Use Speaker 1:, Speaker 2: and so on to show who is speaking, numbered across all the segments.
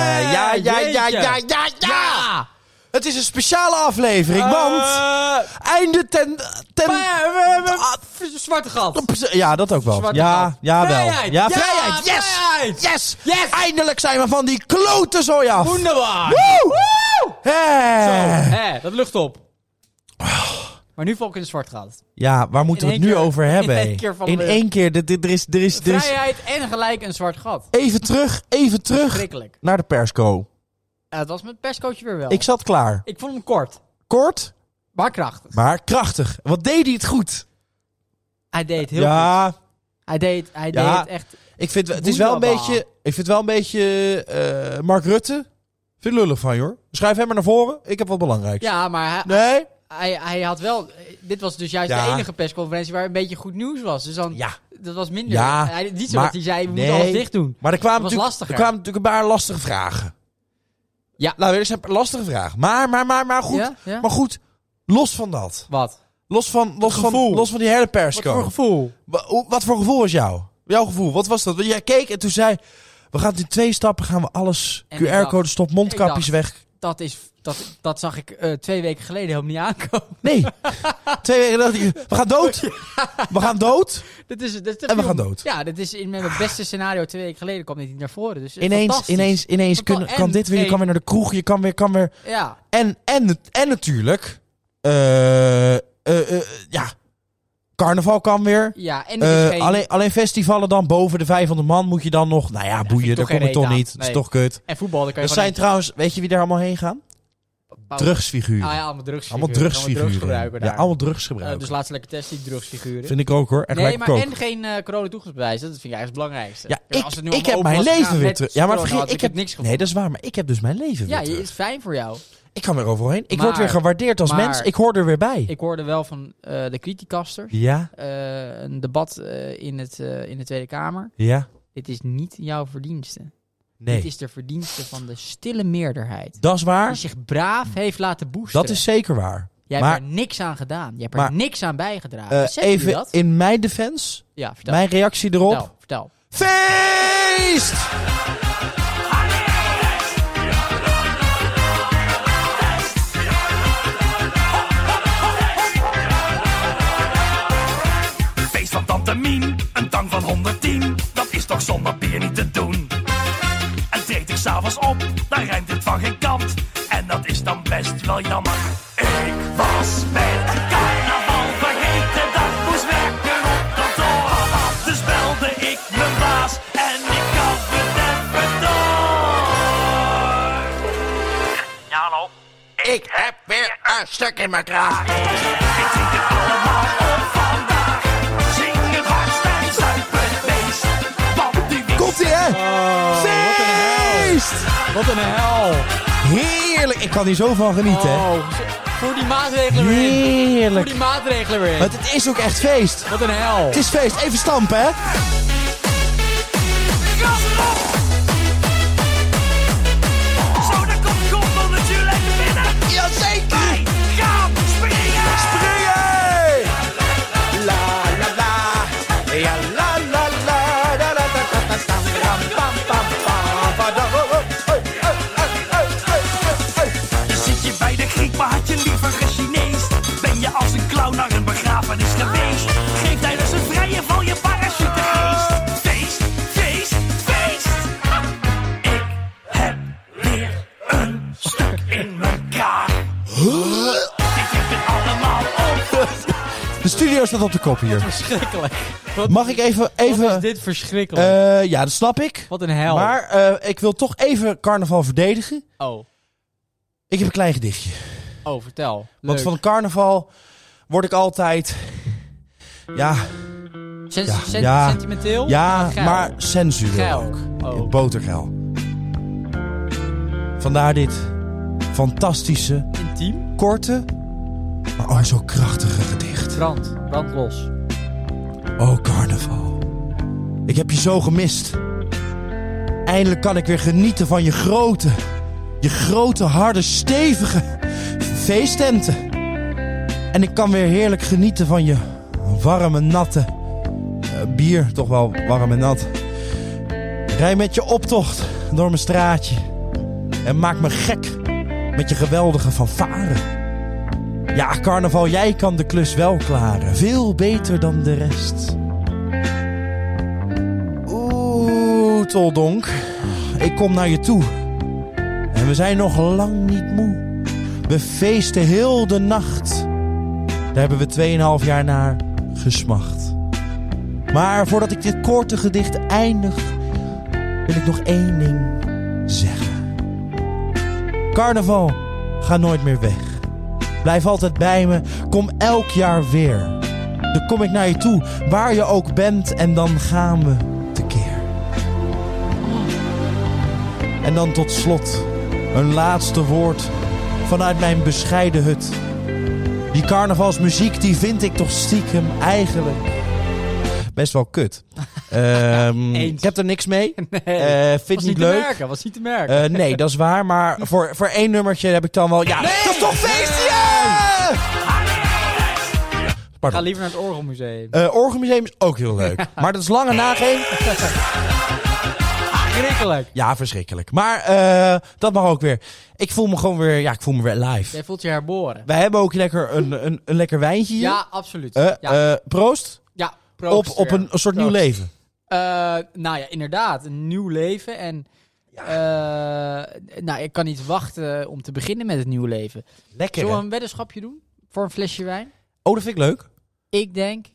Speaker 1: ja, ja, ja, ja, ja,
Speaker 2: Ja! Eh,
Speaker 1: Het is een speciale aflevering, want einde ten... ten Ah,
Speaker 2: ah, zwarte gat.
Speaker 1: ja, dat ook wel.
Speaker 2: Zwarte
Speaker 1: Ja,
Speaker 2: gat.
Speaker 1: ja, wel.
Speaker 2: Vrijheid.
Speaker 1: Ja,
Speaker 2: Ja,
Speaker 1: vrijheid. Yes!
Speaker 2: vrijheid.
Speaker 1: Yes!
Speaker 2: Yes!
Speaker 1: Eindelijk zijn we van die klote zooi af.
Speaker 2: Wonderbaar.
Speaker 1: Woe! Eh.
Speaker 2: Zo,
Speaker 1: Hey.
Speaker 2: hè, dat lucht op. Maar nu val ik in een zwart gat.
Speaker 1: Ja, waar moeten
Speaker 2: In
Speaker 1: we het
Speaker 2: één
Speaker 1: nu
Speaker 2: keer-
Speaker 1: over
Speaker 2: in
Speaker 1: hebben?
Speaker 2: één keer vallen
Speaker 1: in
Speaker 2: we-
Speaker 1: één keer. Dit, dit, er is, er is, er is-
Speaker 2: Vrijheid en gelijk een zwart gat.
Speaker 1: Even terug, even terug
Speaker 2: Schrikkelijk.
Speaker 1: naar de persco.
Speaker 2: Ja, het was met perscoach weer wel.
Speaker 1: Ik zat klaar.
Speaker 2: Ik vond hem kort,
Speaker 1: Kort,
Speaker 2: maar krachtig.
Speaker 1: maar krachtig. Wat deed hij het goed?
Speaker 2: Hij deed het heel goed.
Speaker 1: ja,
Speaker 2: Hij deed, hij
Speaker 1: Ja.
Speaker 2: deed het echt...
Speaker 1: ik vind het is wel een
Speaker 2: Wonderbaar.
Speaker 1: beetje. Ik vind het wel een beetje eh, Mark Rutte. Ik Vind het lullig van, joh. Schrijf hem maar naar voren. Ik heb wat belangrijks.
Speaker 2: Ja, maar hij,
Speaker 1: Nee?
Speaker 2: hij, hij had wel... Dit was dus juist
Speaker 1: Ja.
Speaker 2: de enige persconferentie waar een beetje goed nieuws was. Dus dan...
Speaker 1: Ja.
Speaker 2: Dat was minder.
Speaker 1: Ja,
Speaker 2: Hij- niet zo
Speaker 1: maar-
Speaker 2: dat hij zei, we
Speaker 1: nee.
Speaker 2: moeten alles dicht doen.
Speaker 1: Maar er kwamen,
Speaker 2: was
Speaker 1: natuurlijk, er
Speaker 2: lastiger.
Speaker 1: kwamen natuurlijk een paar lastige vragen.
Speaker 2: Ja.
Speaker 1: Nou, er zijn lastige vragen. Maar, maar, maar, maar goed.
Speaker 2: Ja, ja.
Speaker 1: Maar goed, los van dat.
Speaker 2: Wat?
Speaker 1: Los van, los van,
Speaker 2: gevoel.
Speaker 1: los van die hele persco.
Speaker 2: gevoel?
Speaker 1: Wa- hoe- Wat voor gevoel was jou? Jouw gevoel, wat was dat? Want Jij keek en toen zei... We gaan in twee stappen gaan we alles...
Speaker 2: En ik
Speaker 1: QR-codes
Speaker 2: dacht-
Speaker 1: stop, mondkapjes
Speaker 2: ik
Speaker 1: weg.
Speaker 2: Dat, is, dat, dat zag ik eh, twee weken geleden helemaal niet aankomen.
Speaker 1: Nee. twee weken dacht ik, we gaan dood. We gaan dood.
Speaker 2: dit is, dit is te
Speaker 1: En we
Speaker 2: veel.
Speaker 1: gaan dood.
Speaker 2: Ja, dit is in mijn beste scenario twee weken geleden kwam dit niet naar voren. Dus eh,
Speaker 1: Ineens,
Speaker 2: fantastisch.
Speaker 1: ineens, ineens
Speaker 2: Fantastisch.
Speaker 1: kun, kan dit weer. Je
Speaker 2: En-
Speaker 1: kan weer naar de kroeg. Je kan weer, kan weer...
Speaker 2: Ja,
Speaker 1: En, en, en natuurlijk... eh, eh, eh, ja. Carnaval kan weer.
Speaker 2: ja. En
Speaker 1: Eh,
Speaker 2: er is geen...
Speaker 1: alleen, alleen festivalen dan boven de 500 man moet je dan nog... Nou ja, boeien,
Speaker 2: ik
Speaker 1: daar
Speaker 2: toch
Speaker 1: kom
Speaker 2: geen
Speaker 1: ik toch
Speaker 2: reet aan.
Speaker 1: niet. Dat is
Speaker 2: Nee.
Speaker 1: toch kut.
Speaker 2: En voetbal, daar kan je
Speaker 1: Dat zijn
Speaker 2: gewoon
Speaker 1: trouwens... Weet je wie daar allemaal heen gaan?
Speaker 2: niet- Pauw.
Speaker 1: Drugsfiguren.
Speaker 2: Ah ja, allemaal drugsfiguren.
Speaker 1: Allemaal drugsfiguren.
Speaker 2: Allemaal drugsgebruiken
Speaker 1: ja,
Speaker 2: daar.
Speaker 1: allemaal
Speaker 2: Eh,
Speaker 1: drugsgebruik.
Speaker 2: dus laatst lekker test die drugsfiguren.
Speaker 1: Vind ik ook hoor. En
Speaker 2: nee,
Speaker 1: gelijk
Speaker 2: maar
Speaker 1: kook.
Speaker 2: en geen eh corona toegangsbewijs. Dat vind ik eigenlijk het belangrijkste.
Speaker 1: Ja,
Speaker 2: als het
Speaker 1: ik,
Speaker 2: nu
Speaker 1: ik
Speaker 2: allemaal
Speaker 1: heb
Speaker 2: open
Speaker 1: mijn
Speaker 2: was
Speaker 1: leven
Speaker 2: gegaan
Speaker 1: weer
Speaker 2: met
Speaker 1: terug. Ja, maar
Speaker 2: corona,
Speaker 1: vergeet,
Speaker 2: had
Speaker 1: ik heb
Speaker 2: niks
Speaker 1: Nee,
Speaker 2: gevonden.
Speaker 1: dat is waar, maar ik heb dus mijn leven
Speaker 2: Ja,
Speaker 1: weer
Speaker 2: je
Speaker 1: terug.
Speaker 2: is fijn voor jou.
Speaker 1: Ik kan er overheen. Ik word weer
Speaker 2: Maar-
Speaker 1: gewaardeerd als mens.
Speaker 2: maar-
Speaker 1: Ik hoor er weer bij.
Speaker 2: Ik hoorde wel van eh, de criticasters.
Speaker 1: Ja,
Speaker 2: eh, een debat eh, in, het, eh, in de Tweede Kamer.
Speaker 1: ja,
Speaker 2: Dit is niet jouw verdienste.
Speaker 1: nee.
Speaker 2: Dit is de verdienste van de stille meerderheid.
Speaker 1: Dat is
Speaker 2: Die
Speaker 1: waar.
Speaker 2: zich braaf heeft laten boosteren.
Speaker 1: Dat is zeker waar.
Speaker 2: Jij
Speaker 1: maar-
Speaker 2: hebt er niks aan gedaan. Je hebt
Speaker 1: maar-
Speaker 2: er niks aan bijgedragen.
Speaker 1: Eh,
Speaker 2: Beseft u
Speaker 1: even
Speaker 2: Ah, dat? Nou.
Speaker 1: in mijn defense,
Speaker 2: Ja, vertel.
Speaker 1: mijn reactie erop.
Speaker 2: vertel, vertel.
Speaker 1: Feest!
Speaker 3: Feest van Tante Mien, een tang van 110, dat is toch zonder bier niet te doen. En treed ik s'avonds op, daar rijmt het van geen kant, en dat is dan best wel jammer. Ik was met carnaval vergeten, dat moest werken op kantoor. Dus belde ik mijn baas, en ik had het even door. Ja, hallo. Ik heb weer een stuk in mijn kraag. Ik drink het allemaal op vandaag. Zing het hardst en zuip het meest. Want die winst
Speaker 1: Komt ie, hè?
Speaker 2: Oh,
Speaker 1: Feest!
Speaker 2: Wat een hel.
Speaker 1: Heerlijk! Ik kan hier zo van genieten, hè?
Speaker 2: Oh, voor die maatregelen weer in. Voor
Speaker 1: Heerlijk!
Speaker 2: die maatregelen weer in.
Speaker 1: Want het is ook echt feest.
Speaker 2: Wat een hel.
Speaker 1: Het is feest. Even stampen, hè?
Speaker 3: gas erop. Zo, dan komt komt omdat je lekker binnen. Jazeker. Wij gaan springen. Zit je bij de Griek, maar had je liever Chinees? Ben je als een clown naar een begrafenis geweest? Geef tijdens een vrije val je parachute geest. Feest, feest, feest. Ik heb weer een stuk in mijn kaart. Ik heb het allemaal op.
Speaker 1: De studio staat op de kop hier.
Speaker 2: verschrikkelijk. Wat,
Speaker 1: Mag ik even...
Speaker 2: wat is
Speaker 1: even
Speaker 2: dit verschrikkelijk?
Speaker 1: eh, ja, dat snap ik.
Speaker 2: wat een hel.
Speaker 1: Maar eh, ik wil toch even carnaval verdedigen.
Speaker 2: oh,
Speaker 1: Ik heb een klein gedichtje.
Speaker 2: oh, vertel.
Speaker 1: Want
Speaker 2: Leuk.
Speaker 1: van carnaval word ik altijd... Ja,
Speaker 2: Sens-
Speaker 1: Ja,
Speaker 2: sen-
Speaker 1: ja.
Speaker 2: Sentimenteel?
Speaker 1: ja
Speaker 2: Wat geil.
Speaker 1: maar sensueel
Speaker 2: Geil.
Speaker 1: ook.
Speaker 2: Oh.
Speaker 1: Botergeil. Vandaar dit fantastische,
Speaker 2: Intiem?
Speaker 1: korte, maar oh zo krachtige gedicht.
Speaker 2: Brand. Brand los.
Speaker 1: Oh, carnaval. Ik heb je zo gemist. Eindelijk kan ik weer genieten van je grote, je grote, harde, stevige feesttenten. En ik kan weer heerlijk genieten van je warme, natte eh, bier, toch wel warm en nat. Rij met je optocht door mijn straatje. en maak me gek met je geweldige fanfare. Ja, carnaval, jij kan de klus wel klaren. Veel beter dan de rest. Oeh, Toldonk, ik kom naar je toe. En we zijn nog lang niet moe. We feesten heel de nacht. Daar hebben we 2,5 jaar naar gesmacht. Maar voordat ik dit korte gedicht eindig, wil ik nog één ding zeggen. Carnaval, ga nooit meer weg. Blijf altijd bij me, kom elk jaar weer. Dan kom ik naar je toe, waar je ook bent, en dan gaan we tekeer. En dan tot slot, een laatste woord vanuit mijn bescheiden hut. Die carnavalsmuziek, die vind ik toch stiekem eigenlijk best wel kut. Ehm,
Speaker 2: Eens.
Speaker 1: ik heb er niks mee.
Speaker 2: Nee.
Speaker 1: Eh, vind
Speaker 2: was
Speaker 1: niet,
Speaker 2: te
Speaker 1: leuk.
Speaker 2: merken, was niet te merken.
Speaker 1: Eh, nee, dat is waar. Maar voor, voor één nummertje heb ik dan wel... Ja, dat is toch feestje!
Speaker 2: Ga
Speaker 1: Pardon.
Speaker 2: liever naar het Orgelmuseum.
Speaker 1: Eh Orgelmuseum is ook heel leuk. Maar dat is lange nageen.
Speaker 2: Schrikkelijk.
Speaker 1: Ja, verschrikkelijk. Maar eh, dat mag ook weer. Ik voel me gewoon weer... Ja, ik voel me weer live.
Speaker 2: Jij voelt je herboren.
Speaker 1: Wij hebben ook lekker een, een, een lekker wijntje hier.
Speaker 2: Ja, absoluut.
Speaker 1: Eh,
Speaker 2: ja,
Speaker 1: eh, proost.
Speaker 2: ja, proost
Speaker 1: op, op
Speaker 2: weer.
Speaker 1: een, een soort
Speaker 2: Proost.
Speaker 1: nieuw leven.
Speaker 2: Eh, nou ja, inderdaad. Een nieuw leven. En eh, nou, ik kan niet wachten om te beginnen met het nieuwe leven.
Speaker 1: Lekker,
Speaker 2: Zullen
Speaker 1: hè?
Speaker 2: we een weddenschapje doen? Voor een flesje wijn?
Speaker 1: Oh, dat vind ik leuk.
Speaker 2: Ik denk,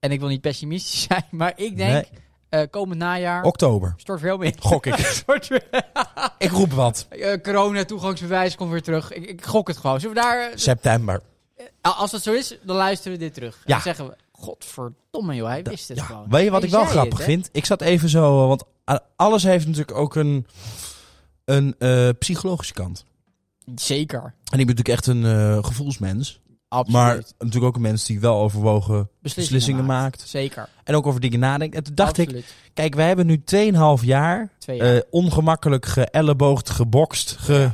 Speaker 2: en ik wil niet pessimistisch zijn, maar ik denk eh, komend najaar
Speaker 1: Oktober.
Speaker 2: stort veel meer.
Speaker 1: Gok ik.
Speaker 2: Stort weer-
Speaker 1: ik roep wat.
Speaker 2: Eh, corona, toegangsbewijs, komt weer terug. Ik, ik gok het gewoon. Zullen we daar... eh,
Speaker 1: September.
Speaker 2: Ah, Als dat zo is, dan luisteren we dit terug.
Speaker 1: Ja.
Speaker 2: Dan zeggen we, godverdomme joh, hij wist het
Speaker 1: Ja,
Speaker 2: gewoon.
Speaker 1: Weet je wat
Speaker 2: Hij
Speaker 1: ik wel
Speaker 2: zei
Speaker 1: grappig
Speaker 2: het, hè?
Speaker 1: vind? Ik zat even zo, eh, want a- alles heeft natuurlijk ook een, een eh, psychologische kant.
Speaker 2: Zeker,
Speaker 1: En ik ben natuurlijk echt een eh, gevoelsmens.
Speaker 2: absoluut.
Speaker 1: Maar natuurlijk ook een mens die wel overwogen beslissingen, maakt.
Speaker 2: Zeker,
Speaker 1: En ook over dingen nadenkt. En toen dacht ik,
Speaker 2: absoluut.
Speaker 1: kijk, wij hebben nu 2,5 jaar
Speaker 2: Twee
Speaker 1: eh, ongemakkelijk geëlleboogd, gebokst, ge...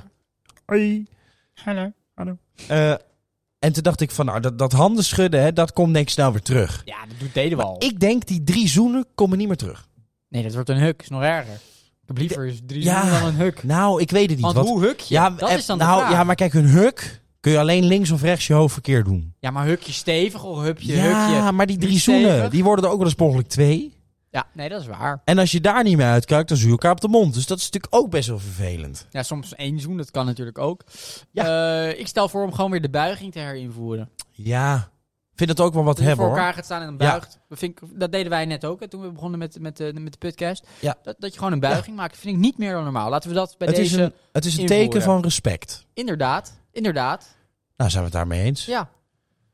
Speaker 1: Hoi.
Speaker 2: Hallo.
Speaker 1: Eh, en toen dacht ik van, nou, dat, dat handen schudden, hè, dat komt denk ik snel weer terug.
Speaker 2: Ja, dat doet deden we al.
Speaker 1: Ik denk, die drie zoenen komen niet meer terug.
Speaker 2: Nee, dat wordt een huk, is nog erger. Ik heb liever eens drie
Speaker 1: Ja.
Speaker 2: ja. dan een huk.
Speaker 1: Nou, ik weet het niet.
Speaker 2: Want
Speaker 1: wat-
Speaker 2: hoe huk je?
Speaker 1: Ja,
Speaker 2: dat
Speaker 1: eh,
Speaker 2: is dan
Speaker 1: nou,
Speaker 2: de vraag.
Speaker 1: ja, maar kijk, hun huk kun je alleen links of rechts je hoofd verkeerd doen.
Speaker 2: Ja, maar huk je stevig of hupje,
Speaker 1: ja,
Speaker 2: hukje.
Speaker 1: maar die
Speaker 2: niet
Speaker 1: drie zoenen,
Speaker 2: stevig.
Speaker 1: die worden er ook wel eens per ongeluk twee.
Speaker 2: Ja, nee, dat is waar.
Speaker 1: En als je daar niet meer uitkijkt, dan zoe je elkaar op de mond. Dus dat is natuurlijk ook best wel vervelend.
Speaker 2: Ja, soms één zoen, dat kan natuurlijk ook.
Speaker 1: Ja.
Speaker 2: Eh, ik stel voor om gewoon weer de buiging te herinvoeren.
Speaker 1: Ja, ik vind dat ook wel wat
Speaker 2: Dat je
Speaker 1: hebben
Speaker 2: voor
Speaker 1: hoor.
Speaker 2: elkaar gaat staan en dan
Speaker 1: Ja.
Speaker 2: buigt. Dat, vind ik, dat deden wij net ook, hè, toen we begonnen met, met, de- met de podcast.
Speaker 1: Ja.
Speaker 2: Dat, dat je gewoon een buiging maakt, vind ik niet meer dan normaal. Laten we dat bij
Speaker 1: Het is
Speaker 2: deze...
Speaker 1: een, het is een
Speaker 2: invoeren.
Speaker 1: teken van respect.
Speaker 2: Inderdaad, inderdaad.
Speaker 1: Nou, zijn we het daarmee eens?
Speaker 2: Ja.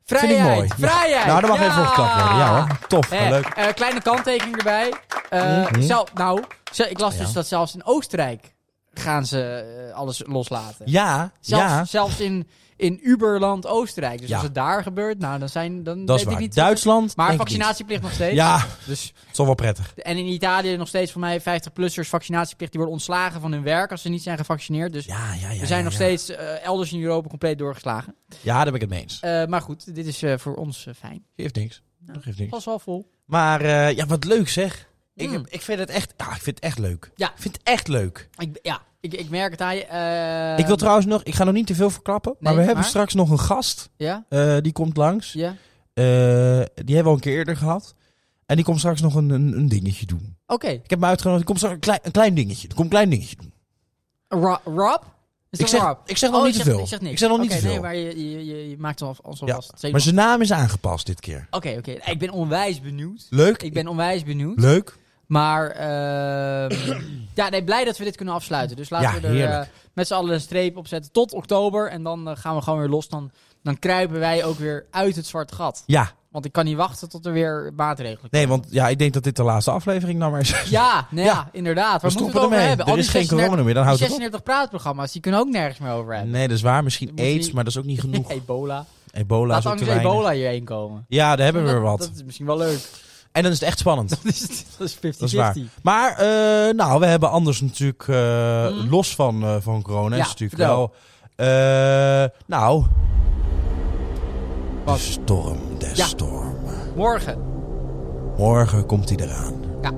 Speaker 1: Vind ik
Speaker 2: Vrijheid,
Speaker 1: mooi. Ja.
Speaker 2: vrijheid.
Speaker 1: Nou, daar mag even
Speaker 2: Ja.
Speaker 1: voor geklapt worden. Ja hoor, tof,
Speaker 2: Hè,
Speaker 1: leuk.
Speaker 2: eh, kleine kanttekening erbij. Eh,
Speaker 1: Mhm.
Speaker 2: zelf, nou, ze- ik las
Speaker 1: Ja.
Speaker 2: dus dat zelfs in Oostenrijk gaan ze eh, alles loslaten.
Speaker 1: Ja,
Speaker 2: Zelfs,
Speaker 1: ja,
Speaker 2: zelfs in, in Uberland Oostenrijk. Dus
Speaker 1: Ja.
Speaker 2: als het daar gebeurt, nou, dan, zijn, dan
Speaker 1: dat is
Speaker 2: weet ik
Speaker 1: waar.
Speaker 2: niet.
Speaker 1: Duitsland,
Speaker 2: Maar
Speaker 1: denk ik
Speaker 2: vaccinatieplicht nog steeds.
Speaker 1: niet. Ja,
Speaker 2: Dus,
Speaker 1: het is toch wel prettig.
Speaker 2: en in Italië nog steeds voor mij 50-plussers vaccinatieplicht. Die worden ontslagen van hun werk als ze niet zijn gevaccineerd. Dus
Speaker 1: Ja, ja, ja.
Speaker 2: we zijn
Speaker 1: ja,
Speaker 2: nog
Speaker 1: ja.
Speaker 2: steeds eh, elders in Europa compleet doorgeslagen.
Speaker 1: Ja, daar ben ik het mee eens.
Speaker 2: Eh, maar goed, dit is eh, voor ons eh, fijn.
Speaker 1: Geeft niks. Dat geeft niks.
Speaker 2: Pas wel vol.
Speaker 1: Maar eh, ja, wat leuk zeg. Ik,
Speaker 2: Mm.
Speaker 1: ik vind het echt, ja, ik vind het echt leuk.
Speaker 2: Ja.
Speaker 1: Ik vind het echt leuk.
Speaker 2: Ik, ja, ik, ik merk het aan je. eh,
Speaker 1: ik wil trouwens nog, ik ga nog niet te veel verklappen, maar
Speaker 2: Nee,
Speaker 1: we hebben
Speaker 2: maar?
Speaker 1: straks nog een gast.
Speaker 2: Ja?
Speaker 1: eh, die komt langs.
Speaker 2: Ja? Oké.
Speaker 1: Eh, die hebben we al een keer eerder gehad. En die komt straks nog een, een, een dingetje doen. Ik heb hem uitgenodigd. Die komt straks een klein, een klein dingetje. Er komt een klein dingetje doen.
Speaker 2: Ro- Rob? Is
Speaker 1: Ik
Speaker 2: dat
Speaker 1: zeg,
Speaker 2: Rob?
Speaker 1: ik zeg nog
Speaker 2: Oh,
Speaker 1: niet
Speaker 2: je
Speaker 1: te
Speaker 2: zegt-
Speaker 1: veel.
Speaker 2: Ik zeg niks.
Speaker 1: nog niet
Speaker 2: Oké,
Speaker 1: te veel.
Speaker 2: Nee, maar je, je, je, je maakt het al
Speaker 1: Ja,
Speaker 2: vast. Zeker.
Speaker 1: maar zijn naam is aangepast dit keer.
Speaker 2: Oké, oké. Ik ben onwijs benieuwd.
Speaker 1: Leuk.
Speaker 2: Ik ben onwijs benieuwd.
Speaker 1: Leuk.
Speaker 2: Maar ehm, ja, nee, blij dat we dit kunnen afsluiten. Dus laten
Speaker 1: Ja,
Speaker 2: we er
Speaker 1: heerlijk.
Speaker 2: eh, met z'n allen een streep op zetten tot oktober. En dan eh, gaan we gewoon weer los. Dan, dan kruipen wij ook weer uit het zwarte gat.
Speaker 1: Ja.
Speaker 2: Want ik kan niet wachten tot er weer maatregelen komen.
Speaker 1: Nee, want ja, ik denk dat dit de laatste aflevering nou maar is.
Speaker 2: Ja, nou
Speaker 1: Ja.
Speaker 2: ja, inderdaad. Waar
Speaker 1: We stoppen
Speaker 2: moeten we het over
Speaker 1: ermee.
Speaker 2: hebben?
Speaker 1: Er
Speaker 2: Al die
Speaker 1: is geen
Speaker 2: 36
Speaker 1: corona meer, dan houdt
Speaker 2: die
Speaker 1: het op.
Speaker 2: 36 praatprogramma's, die kunnen ook nergens meer over hebben.
Speaker 1: Nee, dat is waar. Misschien
Speaker 2: Dat moet je
Speaker 1: aids,
Speaker 2: niet-
Speaker 1: maar dat is ook niet genoeg.
Speaker 2: Ebola.
Speaker 1: Ebola
Speaker 2: Laat
Speaker 1: is ook te
Speaker 2: anders
Speaker 1: weinig.
Speaker 2: ebola hierheen komen.
Speaker 1: Ja, daar hebben we
Speaker 2: Dat-
Speaker 1: weer wat.
Speaker 2: Dat is misschien wel leuk.
Speaker 1: En dan is het echt spannend.
Speaker 2: Dat is 50-50.
Speaker 1: Dat is waar. Maar, eh, nou, we hebben anders natuurlijk, eh,
Speaker 2: Mm.
Speaker 1: los van, eh, van corona,
Speaker 2: Ja,
Speaker 1: is natuurlijk
Speaker 2: vertel.
Speaker 1: wel... eh, nou...
Speaker 2: Wat?
Speaker 1: De storm des
Speaker 2: Ja.
Speaker 1: stormen.
Speaker 2: Morgen.
Speaker 1: Morgen komt hij eraan.
Speaker 2: Ja.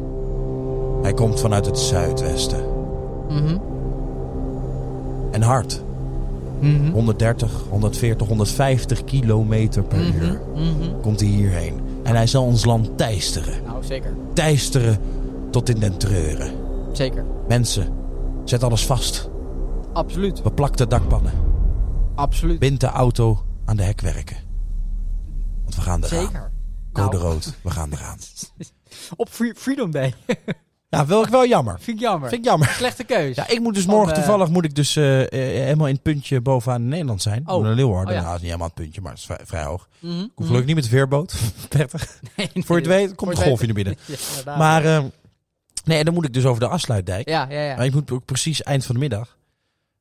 Speaker 1: Hij komt vanuit het zuidwesten.
Speaker 2: Mhm.
Speaker 1: en hard. 130, 140, 150 kilometer per
Speaker 2: Mhm.
Speaker 1: uur komt hij hierheen. En hij zal ons land teisteren.
Speaker 2: Nou, zeker.
Speaker 1: Teisteren tot in den treuren.
Speaker 2: Zeker.
Speaker 1: Mensen, zet alles vast.
Speaker 2: Absoluut.
Speaker 1: Beplak de dakpannen.
Speaker 2: Absoluut.
Speaker 1: Bind de auto aan de hekwerken. Want we gaan eraan.
Speaker 2: zeker.
Speaker 1: Code
Speaker 2: Nou,
Speaker 1: rood, we gaan eraan.
Speaker 2: Op Free- Freedom Day.
Speaker 1: Ja, wel, wel jammer.
Speaker 2: Vind ik jammer.
Speaker 1: Vind ik jammer.
Speaker 2: Slechte keus.
Speaker 1: Ja, ik moet dus
Speaker 2: Van,
Speaker 1: morgen
Speaker 2: eh,
Speaker 1: toevallig moet ik dus eh, eh, helemaal in het puntje bovenaan in Nederland zijn.
Speaker 2: Oh.
Speaker 1: Oh. Een Leeuwarden.
Speaker 2: Oh, ja.
Speaker 1: Nou, dat is niet helemaal het puntje, maar het is vrij, vrij hoog. Ik
Speaker 2: Mhm.
Speaker 1: hoef gelukkig niet met de veerboot. Prettig.
Speaker 2: Nee, nee,
Speaker 1: Voor je het
Speaker 2: dat-
Speaker 1: weet, komt
Speaker 2: voor
Speaker 1: de
Speaker 2: je het
Speaker 1: golfje naar binnen.
Speaker 2: weet. Ja, inderdaad.
Speaker 1: Maar eh, nee, en dan moet ik dus over de afsluitdijk.
Speaker 2: Ja, ja, ja.
Speaker 1: Maar ik moet ook precies eind van de middag.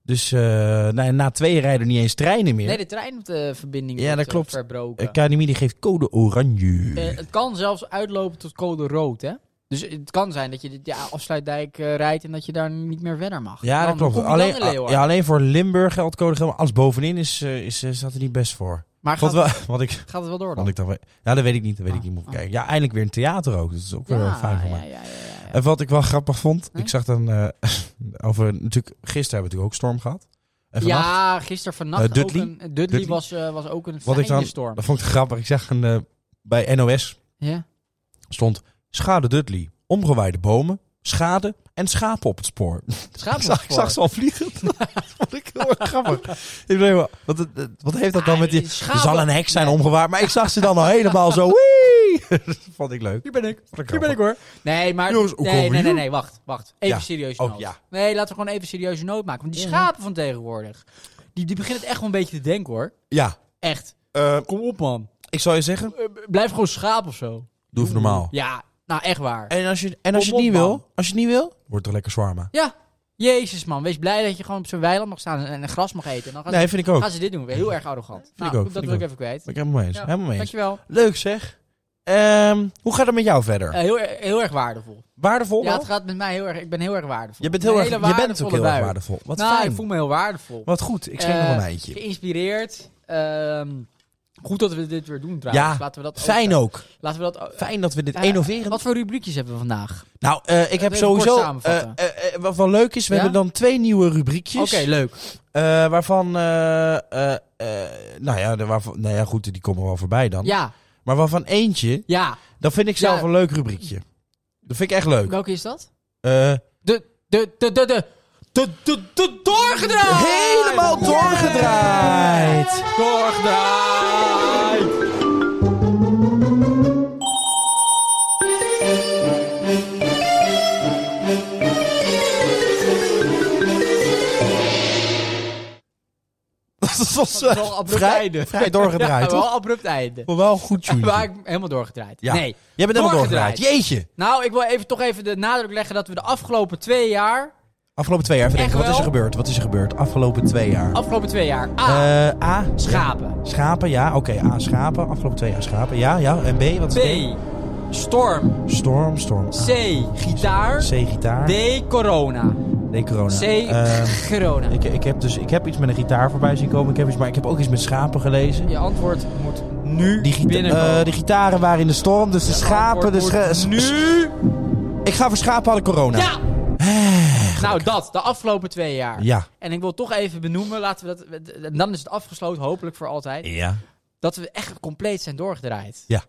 Speaker 1: Dus eh, nou, ja, na twee rijden er niet eens treinen meer.
Speaker 2: Nee, de treinverbinding
Speaker 1: Ja,
Speaker 2: wordt,
Speaker 1: dat
Speaker 2: eh,
Speaker 1: klopt.
Speaker 2: verbroken.
Speaker 1: Eh, KNMI die geeft code oranje.
Speaker 2: Eh, het kan zelfs uitlopen tot code rood, hè? Dus het kan zijn dat je de ja, afsluitdijk eh, rijdt en dat je daar niet meer verder mag.
Speaker 1: ja, dat
Speaker 2: Dan
Speaker 1: klopt.
Speaker 2: kom je dan
Speaker 1: Alleen, ah,
Speaker 2: in Leeuwarden.
Speaker 1: ja, alleen voor Limburg geldt code geel. maar Alles bovenin is, eh, is, eh, staat er niet best voor.
Speaker 2: maar gaat,
Speaker 1: Wat, wel, wat ik
Speaker 2: gaat het wel door dan?
Speaker 1: Want ik dan, we- ja, dat weet ik niet. Dat weet ik
Speaker 2: Ah,
Speaker 1: niet. Moet ik
Speaker 2: ah.
Speaker 1: kijken. Ja, eindelijk weer een theater ook. Dat is ook eh, wel
Speaker 2: ja,
Speaker 1: heel fijn voor mij.
Speaker 2: ja, ja, ja, ja, Hm? ja.
Speaker 1: En wat ik wel grappig vond,
Speaker 2: Nee?
Speaker 1: ik zag dan eh, over natuurlijk gisteren hebben we natuurlijk ook storm gehad. En vannacht,
Speaker 2: Ja, gisteren vannacht
Speaker 1: Eh, Dudley?
Speaker 2: ook een... eh, Dudley,
Speaker 1: Dudley?
Speaker 2: Was, eh, was ook een
Speaker 1: Wat ik
Speaker 2: fijne
Speaker 1: dan-
Speaker 2: storm.
Speaker 1: dat vond ik grappig. Ik zag een, eh, bij NOS
Speaker 2: Ja.
Speaker 1: stond schade Dudley, omgewaaide bomen, schade en schapen op het spoor.
Speaker 2: Schaap
Speaker 1: ik, zag, ik zag ze al vliegen. dat vond ik heel erg grappig. Ik bedoel, wat, wat, wat heeft dat dan
Speaker 2: Ah,
Speaker 1: met die...
Speaker 2: die
Speaker 1: Er
Speaker 2: schapen-
Speaker 1: zal een hek zijn omgewaard, maar ik zag ze dan al helemaal zo... Wee! dat vond ik leuk.
Speaker 2: Hier ben ik.
Speaker 1: Vond ik
Speaker 2: Hier ben ik hoor. Nee, maar...
Speaker 1: Jongens, hoe
Speaker 2: nee,
Speaker 1: komen
Speaker 2: nee, nee,
Speaker 1: jullie?
Speaker 2: nee, wacht. Wacht. Even
Speaker 1: Ja.
Speaker 2: serieus
Speaker 1: Oh,
Speaker 2: nood.
Speaker 1: ja.
Speaker 2: Nee, laten we gewoon even serieuze nood maken. Want die schapen van tegenwoordig, die, die beginnen het echt wel een beetje te denken hoor.
Speaker 1: Ja,
Speaker 2: Echt.
Speaker 1: eh,
Speaker 2: Kom op man.
Speaker 1: ik zou je zeggen,
Speaker 2: Eh, b- Blijf gewoon schaap of zo.
Speaker 1: doe even normaal.
Speaker 2: Ja, nou echt waar.
Speaker 1: En als je, en als je
Speaker 2: Kom
Speaker 1: het niet
Speaker 2: op, man.
Speaker 1: wil, als je het niet wil, wordt er lekker zwarma.
Speaker 2: Ja. Jezus man, wees blij dat je gewoon op zo'n weiland mag staan en, en gras mag eten. En dan gaan,
Speaker 1: Nee, vind ik
Speaker 2: ze,
Speaker 1: ook.
Speaker 2: gaan ze dit doen. Weer heel erg arrogant. nou,
Speaker 1: ik ook,
Speaker 2: Dat
Speaker 1: vind
Speaker 2: wil ik
Speaker 1: ik
Speaker 2: even kwijt.
Speaker 1: Ben ik helemaal mee eens.
Speaker 2: Ja,
Speaker 1: Helemaal mee eens.
Speaker 2: Dankjewel.
Speaker 1: Leuk zeg. Ehm, hoe gaat het met jou verder?
Speaker 2: Eh, heel, erg- heel erg waardevol.
Speaker 1: waardevol?
Speaker 2: Ja,
Speaker 1: wel?
Speaker 2: het gaat met mij heel erg. Ik ben heel erg waardevol.
Speaker 1: je bent heel
Speaker 2: Een
Speaker 1: erg,
Speaker 2: hele
Speaker 1: je bent ook heel erg
Speaker 2: bui.
Speaker 1: waardevol. Wat
Speaker 2: nou,
Speaker 1: fijn.
Speaker 2: ik voel me heel waardevol.
Speaker 1: Wat goed. Ik schenk
Speaker 2: Eh,
Speaker 1: nog een eindje.
Speaker 2: Geïnspireerd. Ehm, goed dat we dit weer doen trouwens.
Speaker 1: Ja,
Speaker 2: Laten we dat
Speaker 1: Fijn
Speaker 2: ook. eh,
Speaker 1: ook.
Speaker 2: Laten we dat ook.
Speaker 1: Fijn dat we dit
Speaker 2: Eh,
Speaker 1: innoveren.
Speaker 2: Wat voor rubriekjes hebben we vandaag?
Speaker 1: nou, eh, ik heb
Speaker 2: even
Speaker 1: sowieso.
Speaker 2: kort samenvatten.
Speaker 1: eh, eh, eh, wat wel leuk is, we
Speaker 2: Ja?
Speaker 1: hebben dan twee nieuwe
Speaker 2: Oké,
Speaker 1: rubriekjes.
Speaker 2: leuk.
Speaker 1: eh, waarvan. eh, eh, eh, nou, ja, de, waarvan, nou ja, goed, die komen wel voorbij dan.
Speaker 2: Ja,
Speaker 1: Maar waarvan eentje,
Speaker 2: ja.
Speaker 1: dat vind ik zelf
Speaker 2: Ja.
Speaker 1: een leuk rubriekje. Dat vind ik echt leuk.
Speaker 2: Welke is dat?
Speaker 1: Eh,
Speaker 2: De, de, de, de, de. De, de, de doorgedraaid!
Speaker 1: Helemaal doorgedraaid.
Speaker 2: Doorgedraaid!
Speaker 1: Dat was
Speaker 2: Dat
Speaker 1: eh,
Speaker 2: is wel abrupt
Speaker 1: vrij,
Speaker 2: einde.
Speaker 1: vrij doorgedraaid,
Speaker 2: Ja, wel
Speaker 1: toch?
Speaker 2: abrupt einde.
Speaker 1: Maar wel goed, Juni.
Speaker 2: Maar ik helemaal doorgedraaid.
Speaker 1: Ja.
Speaker 2: Nee.
Speaker 1: Jij bent helemaal doorgedraaid. Jeetje.
Speaker 2: Nou, ik wil even, toch even de nadruk leggen dat we de afgelopen twee jaar...
Speaker 1: Afgelopen twee jaar. Even
Speaker 2: Echt
Speaker 1: denken, wat is er
Speaker 2: wel?
Speaker 1: gebeurd? Wat is er gebeurd? Afgelopen twee jaar.
Speaker 2: Afgelopen twee jaar. A.
Speaker 1: Eh, A.
Speaker 2: schapen.
Speaker 1: Schapen, ja. Oké, A. Schapen. Afgelopen twee jaar schapen. Ja, ja. En B. Wat
Speaker 2: B.
Speaker 1: is B?
Speaker 2: Storm.
Speaker 1: Storm, storm. A.
Speaker 2: C. Gitaar.
Speaker 1: C. Gitaar.
Speaker 2: D. Corona.
Speaker 1: Nee, corona.
Speaker 2: C.
Speaker 1: Ehm,
Speaker 2: corona.
Speaker 1: ik, ik, heb dus, ik heb iets met een gitaar voorbij zien komen. Ik heb iets, maar ik heb ook iets met schapen gelezen.
Speaker 2: Je antwoord moet nu
Speaker 1: Die, gita-
Speaker 2: binnenkomen.
Speaker 1: eh, die gitaren waren in de storm, dus de schapen...
Speaker 2: antwoord
Speaker 1: De
Speaker 2: wordt
Speaker 1: scha- Ik ga voor schapen hadden corona.
Speaker 2: Ja! nou, dat. De afgelopen twee jaar.
Speaker 1: Ja.
Speaker 2: En ik wil toch even benoemen, laten we dat... En dan is het afgesloten, hopelijk voor altijd.
Speaker 1: Ja.
Speaker 2: Dat we echt compleet zijn doorgedraaid.
Speaker 1: Ja.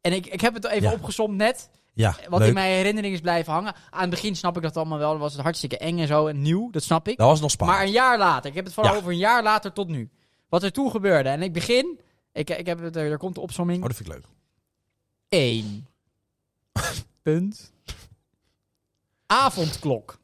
Speaker 2: En ik, ik heb het even
Speaker 1: Ja.
Speaker 2: opgezomd net.
Speaker 1: Ja,
Speaker 2: Eh, Wat
Speaker 1: leuk.
Speaker 2: in mijn herinnering is blijven hangen. Aan het begin snap ik dat allemaal wel. Dan was het hartstikke eng en zo en nieuw. Dat snap ik.
Speaker 1: Dat was nog spannend.
Speaker 2: Maar een jaar later. Ik heb het vooral
Speaker 1: Ja.
Speaker 2: over een jaar later tot nu. Wat er toen gebeurde. En ik begin... Ik, ik heb het, er er komt de
Speaker 1: Oh,
Speaker 2: opzomming.
Speaker 1: dat vind ik leuk.
Speaker 2: 1.
Speaker 1: Punt.
Speaker 2: Avondklok.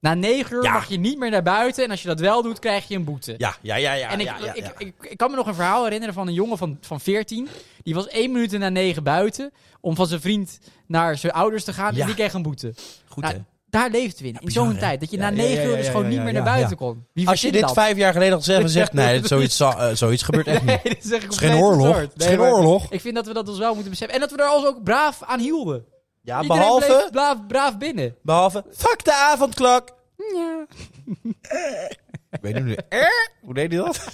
Speaker 2: Na 9 uur
Speaker 1: Ja.
Speaker 2: mag je niet meer naar buiten. En als je dat wel doet, krijg je een boete.
Speaker 1: Ja, ja, ja, ja.
Speaker 2: en ik,
Speaker 1: ja, ja,
Speaker 2: ik,
Speaker 1: ja.
Speaker 2: Ik, ik, kan me nog een verhaal herinneren van een jongen van, van 14. Die was 1 minuut na 9 buiten. Om van zijn vriend naar zijn ouders te gaan.
Speaker 1: Ja.
Speaker 2: En die kreeg een boete.
Speaker 1: Goed,
Speaker 2: Nou,
Speaker 1: hè?
Speaker 2: daar leefden we in. in
Speaker 1: bizar,
Speaker 2: zo'n
Speaker 1: hè?
Speaker 2: tijd. Dat je
Speaker 1: Ja,
Speaker 2: na
Speaker 1: ja,
Speaker 2: negen
Speaker 1: ja,
Speaker 2: uur
Speaker 1: ja,
Speaker 2: dus
Speaker 1: ja,
Speaker 2: gewoon
Speaker 1: ja,
Speaker 2: niet
Speaker 1: ja,
Speaker 2: meer
Speaker 1: ja,
Speaker 2: naar buiten
Speaker 1: ja.
Speaker 2: kon. Wie
Speaker 1: Als je
Speaker 2: verzint
Speaker 1: dit
Speaker 2: dat?
Speaker 1: vijf jaar geleden had gezegd, dan zegt nee, dat- zoiets, zal- eh, zoiets gebeurt echt
Speaker 2: Nee,
Speaker 1: niet.
Speaker 2: dat zeg ik
Speaker 1: Het is geen
Speaker 2: compleet
Speaker 1: oorlog.
Speaker 2: absurd.
Speaker 1: Het is
Speaker 2: Nee,
Speaker 1: geen
Speaker 2: maar
Speaker 1: oorlog.
Speaker 2: Ik vind dat we dat ons wel moeten beseffen. En dat we daar ons ook braaf aan hielden.
Speaker 1: Ja,
Speaker 2: Iedereen bleef
Speaker 1: Ah, behalve,
Speaker 2: braaf, braaf binnen.
Speaker 1: behalve, fuck de avondklok. Ik weet niet hoe die- Eh? Hoe deed hij dat?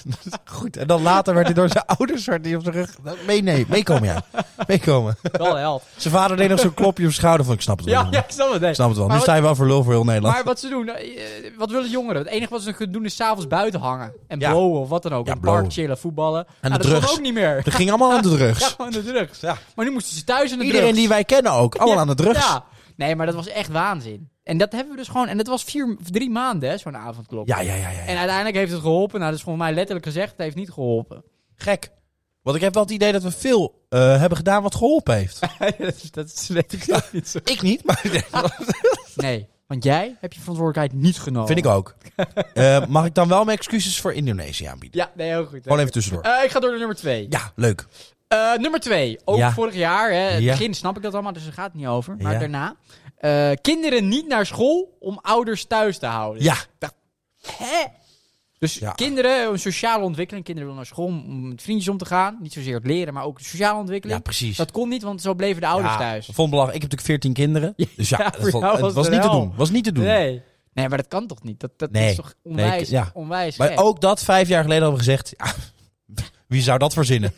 Speaker 1: Goed, en dan later werd hij door zijn ouders werd hij op zijn rug. Nou, Mee, nee, meekomen, ja. meekomen.
Speaker 2: Wel held.
Speaker 1: Zijn vader deed nog zo'n klopje op zijn schouder van, ik snap het wel.
Speaker 2: Ja, ja, ik snap het. nee.
Speaker 1: Ik snap het wel.
Speaker 2: Maar
Speaker 1: nu
Speaker 2: wat-
Speaker 1: sta je wel voor lul voor heel Nederland.
Speaker 2: Maar wat ze doen, eh, eh, wat willen jongeren? Het enige wat ze kunnen doen is s'avonds buiten hangen. En
Speaker 1: Ja.
Speaker 2: blowen of wat dan ook.
Speaker 1: Ja,
Speaker 2: in het park
Speaker 1: blowen.
Speaker 2: chillen, voetballen. En
Speaker 1: de
Speaker 2: dat kan
Speaker 1: drugs.
Speaker 2: ook niet meer.
Speaker 1: Dat ging allemaal aan de
Speaker 2: Ja,
Speaker 1: drugs.
Speaker 2: gewoon de drugs.
Speaker 1: Ja.
Speaker 2: Maar nu moesten ze thuis aan de
Speaker 1: Iedereen
Speaker 2: drugs.
Speaker 1: die wij kennen ook, allemaal
Speaker 2: Ja,
Speaker 1: aan de drugs.
Speaker 2: Ja. Nee, maar dat was echt waanzin. En dat hebben we dus gewoon... En dat was vier, drie maanden, hè, zo'n avondklok.
Speaker 1: Ja, ja, ja, ja.
Speaker 2: En uiteindelijk heeft het geholpen. Nou, dat is volgens mij letterlijk gezegd. Het heeft niet geholpen.
Speaker 1: Gek. Want ik heb wel het idee dat we veel eh, hebben gedaan wat geholpen heeft.
Speaker 2: dat, is- dat is- weet ik zelf niet zo.
Speaker 1: ik niet, maar
Speaker 2: Nee, want jij hebt je verantwoordelijkheid niet genomen.
Speaker 1: vind ik ook. Eh, mag ik dan wel mijn excuses voor Indonesië aanbieden?
Speaker 2: Ja, nee, heel goed.
Speaker 1: Gewoon even tussendoor.
Speaker 2: Eh, ik ga door naar nummer twee.
Speaker 1: ja, leuk.
Speaker 2: Eh, nummer twee. Ook
Speaker 1: Ja.
Speaker 2: vorig jaar. Hè. Het
Speaker 1: Ja.
Speaker 2: begin snap ik dat allemaal, dus daar gaat het niet over. Maar
Speaker 1: Ja.
Speaker 2: daarna. Eh, kinderen niet naar school om ouders thuis te houden.
Speaker 1: Ja,
Speaker 2: Hè? Dus
Speaker 1: Ja.
Speaker 2: kinderen, een sociale ontwikkeling. Kinderen willen naar school om- om met vriendjes om te gaan. Niet zozeer het leren, maar ook de sociale ontwikkeling.
Speaker 1: ja precies.
Speaker 2: Dat kon niet, want zo bleven de ouders
Speaker 1: Ja,
Speaker 2: thuis.
Speaker 1: Vond belangrijk. Ik heb natuurlijk 14 kinderen. Dus ja,
Speaker 2: Ja,
Speaker 1: het
Speaker 2: voor
Speaker 1: was,
Speaker 2: jou
Speaker 1: het
Speaker 2: was
Speaker 1: was
Speaker 2: het
Speaker 1: niet te
Speaker 2: wel.
Speaker 1: doen. Was niet te doen.
Speaker 2: Nee. Nee, maar dat kan toch niet? Dat, dat
Speaker 1: Nee.
Speaker 2: is toch
Speaker 1: Nee,
Speaker 2: onwijs,
Speaker 1: ja.
Speaker 2: onwijs
Speaker 1: Maar
Speaker 2: gek?
Speaker 1: ook dat vijf jaar geleden hadden we gezegd. ja, wie zou dat verzinnen?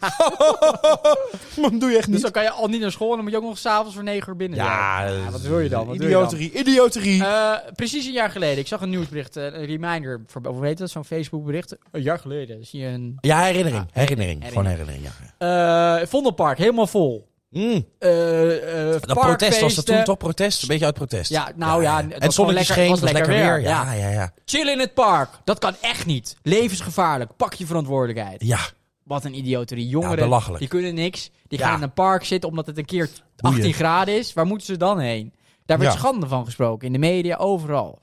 Speaker 1: Man, doe je echt
Speaker 2: Dus dan kan je al niet naar school en dan moet je ook nog s'avonds voor negen uur binnen
Speaker 1: Ja,
Speaker 2: zijn.
Speaker 1: dat
Speaker 2: wat
Speaker 1: is
Speaker 2: wil je dan? Wat wil je dan?
Speaker 1: Idioterie, idioterie.
Speaker 2: Eh, precies een jaar geleden. Ik zag een nieuwsbericht, eh, een reminder. Voor, hoe heet dat? Zo'n Facebookbericht. Een jaar geleden. Zie je een...
Speaker 1: ja, herinnering.
Speaker 2: ja,
Speaker 1: herinnering.
Speaker 2: Ah, herinnering.
Speaker 1: Gewoon herinnering. Ja.
Speaker 2: Eh, Vondelpark, helemaal vol.
Speaker 1: Mm.
Speaker 2: Eh,
Speaker 1: Dat
Speaker 2: eh,
Speaker 1: protest was dat
Speaker 2: parkfeesten.
Speaker 1: toen toch protest? Een beetje uit protest.
Speaker 2: Ja, nou ja, het was
Speaker 1: en het
Speaker 2: gewoon
Speaker 1: zonnetje
Speaker 2: lekker-
Speaker 1: scheen,
Speaker 2: was
Speaker 1: het was lekker weer. Ja,
Speaker 2: ja.
Speaker 1: ja, ja.
Speaker 2: Chill in het park. Dat kan echt niet. Levensgevaarlijk. Pak je verantwoordelijkheid.
Speaker 1: Ja,
Speaker 2: Wat een idioterie. Jongeren,
Speaker 1: belachelijk.
Speaker 2: die kunnen niks. Die
Speaker 1: Ja.
Speaker 2: gaan in een park zitten omdat het een keer 18
Speaker 1: Boeien.
Speaker 2: graden is. Waar moeten ze dan heen? Daar werd
Speaker 1: Ja.
Speaker 2: schande van gesproken. In de media, overal.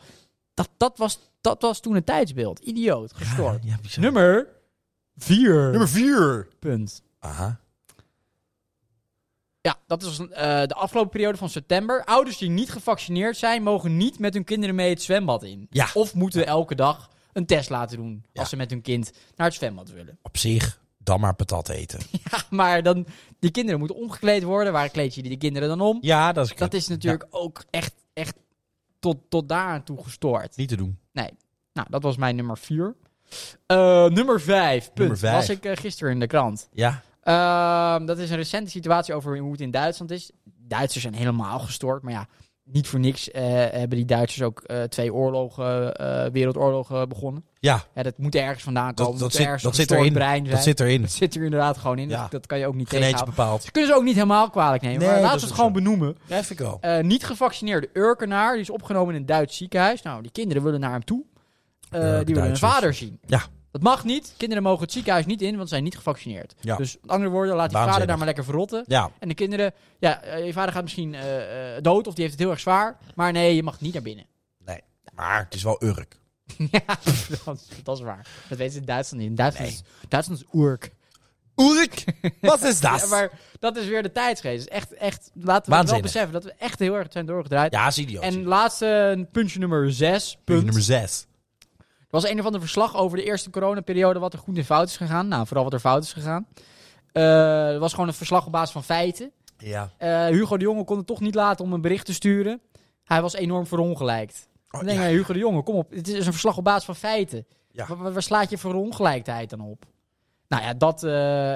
Speaker 2: Dat, dat, was, dat was toen het tijdsbeeld. Idioot. Gestoord.
Speaker 1: ja, bizar.
Speaker 2: Nummer 4.
Speaker 1: Nummer vier.
Speaker 2: punt.
Speaker 1: Aha.
Speaker 2: Ja, dat is eh, de afgelopen periode van september. Ouders die niet gevaccineerd zijn, mogen niet met hun kinderen mee het zwembad in.
Speaker 1: Ja.
Speaker 2: Of moeten elke dag een test laten doen
Speaker 1: Ja.
Speaker 2: als ze met hun kind naar het zwembad willen.
Speaker 1: Op zich, dan maar patat eten.
Speaker 2: Ja, maar dan, die kinderen moeten omgekleed worden. Waar kleed je die kinderen dan om?
Speaker 1: Ja, dat is,
Speaker 2: Dat is natuurlijk ook echt, echt tot, tot daar aan toe gestoord.
Speaker 1: niet te doen.
Speaker 2: Nou, dat was mijn nummer vier. Eh, nummer vijf, punt.
Speaker 1: Nummer vijf.
Speaker 2: Was ik eh, gisteren in de krant.
Speaker 1: Ja.
Speaker 2: Ehm, dat is een recente situatie over hoe het in Duitsland is. Duitsers zijn helemaal gestoord, maar ja, niet voor niks eh, hebben die Duitsers ook eh, twee oorlogen, eh, wereldoorlogen begonnen.
Speaker 1: Ja,
Speaker 2: Ja, dat moet ergens vandaan
Speaker 1: dat,
Speaker 2: komen.
Speaker 1: dat,
Speaker 2: moet
Speaker 1: zit,
Speaker 2: ergens
Speaker 1: dat
Speaker 2: een
Speaker 1: zit
Speaker 2: gestoord
Speaker 1: erin.
Speaker 2: brein zijn.
Speaker 1: Dat zit erin.
Speaker 2: Dat zit er inderdaad gewoon in.
Speaker 1: Ja.
Speaker 2: Dat, dat kan je ook niet
Speaker 1: Genetisch
Speaker 2: tegenhouden.
Speaker 1: bepaald.
Speaker 2: Ze kunnen ze ook niet helemaal kwalijk nemen,
Speaker 1: Nee,
Speaker 2: maar
Speaker 1: dat
Speaker 2: laten
Speaker 1: is
Speaker 2: we het
Speaker 1: ook
Speaker 2: gewoon benoemen.
Speaker 1: Ja, vind ik wel.
Speaker 2: Eh, niet gevaccineerde Urkenaar, die is opgenomen in een Duits ziekenhuis. Nou, die kinderen willen naar hem toe. Eh,
Speaker 1: Ja,
Speaker 2: die willen hun
Speaker 1: Duitsers.
Speaker 2: vader zien.
Speaker 1: Ja.
Speaker 2: Dat mag niet. Kinderen mogen het ziekenhuis niet in, want ze zijn niet gevaccineerd.
Speaker 1: Ja.
Speaker 2: Dus met andere woorden, laat die vader
Speaker 1: Waanzinnig.
Speaker 2: daar maar lekker verrotten.
Speaker 1: Ja,
Speaker 2: En de kinderen, ja, eh, je vader gaat misschien eh, eh, dood of die heeft het heel erg zwaar. Maar nee, je mag niet naar binnen.
Speaker 1: maar het is wel Urk.
Speaker 2: ja, dat, is- dat is waar. Dat weten ze in Duitsland niet. In Duitsland, is, Duitsland is Urk.
Speaker 1: Urk? Wat is dat?
Speaker 2: Ja, maar dat is weer de tijdsgeest. Dus Echt, echt, laten we het wel
Speaker 1: Waanzinnig.
Speaker 2: beseffen dat we echt heel erg zijn doorgedraaid.
Speaker 1: Ja, is idioot.
Speaker 2: en laatste eh, puntje nummer 6.
Speaker 1: Puntje
Speaker 2: Punt.
Speaker 1: nummer 6.
Speaker 2: Er was een of ander verslag over de eerste coronaperiode wat er goed en fout is gegaan. Nou, vooral wat er fout is gegaan. Eh, er was gewoon een verslag op basis van feiten.
Speaker 1: Ja.
Speaker 2: Eh, Hugo de Jonge kon het toch niet laten om een bericht te sturen. Hij was enorm verongelijkt.
Speaker 1: Oh,
Speaker 2: Dan denk
Speaker 1: ja.
Speaker 2: ik, Hugo de Jonge, kom op. Het is een verslag op basis van feiten.
Speaker 1: Ja.
Speaker 2: Waar, waar- waar slaat je verongelijkheid dan op? Nou ja, dat eh,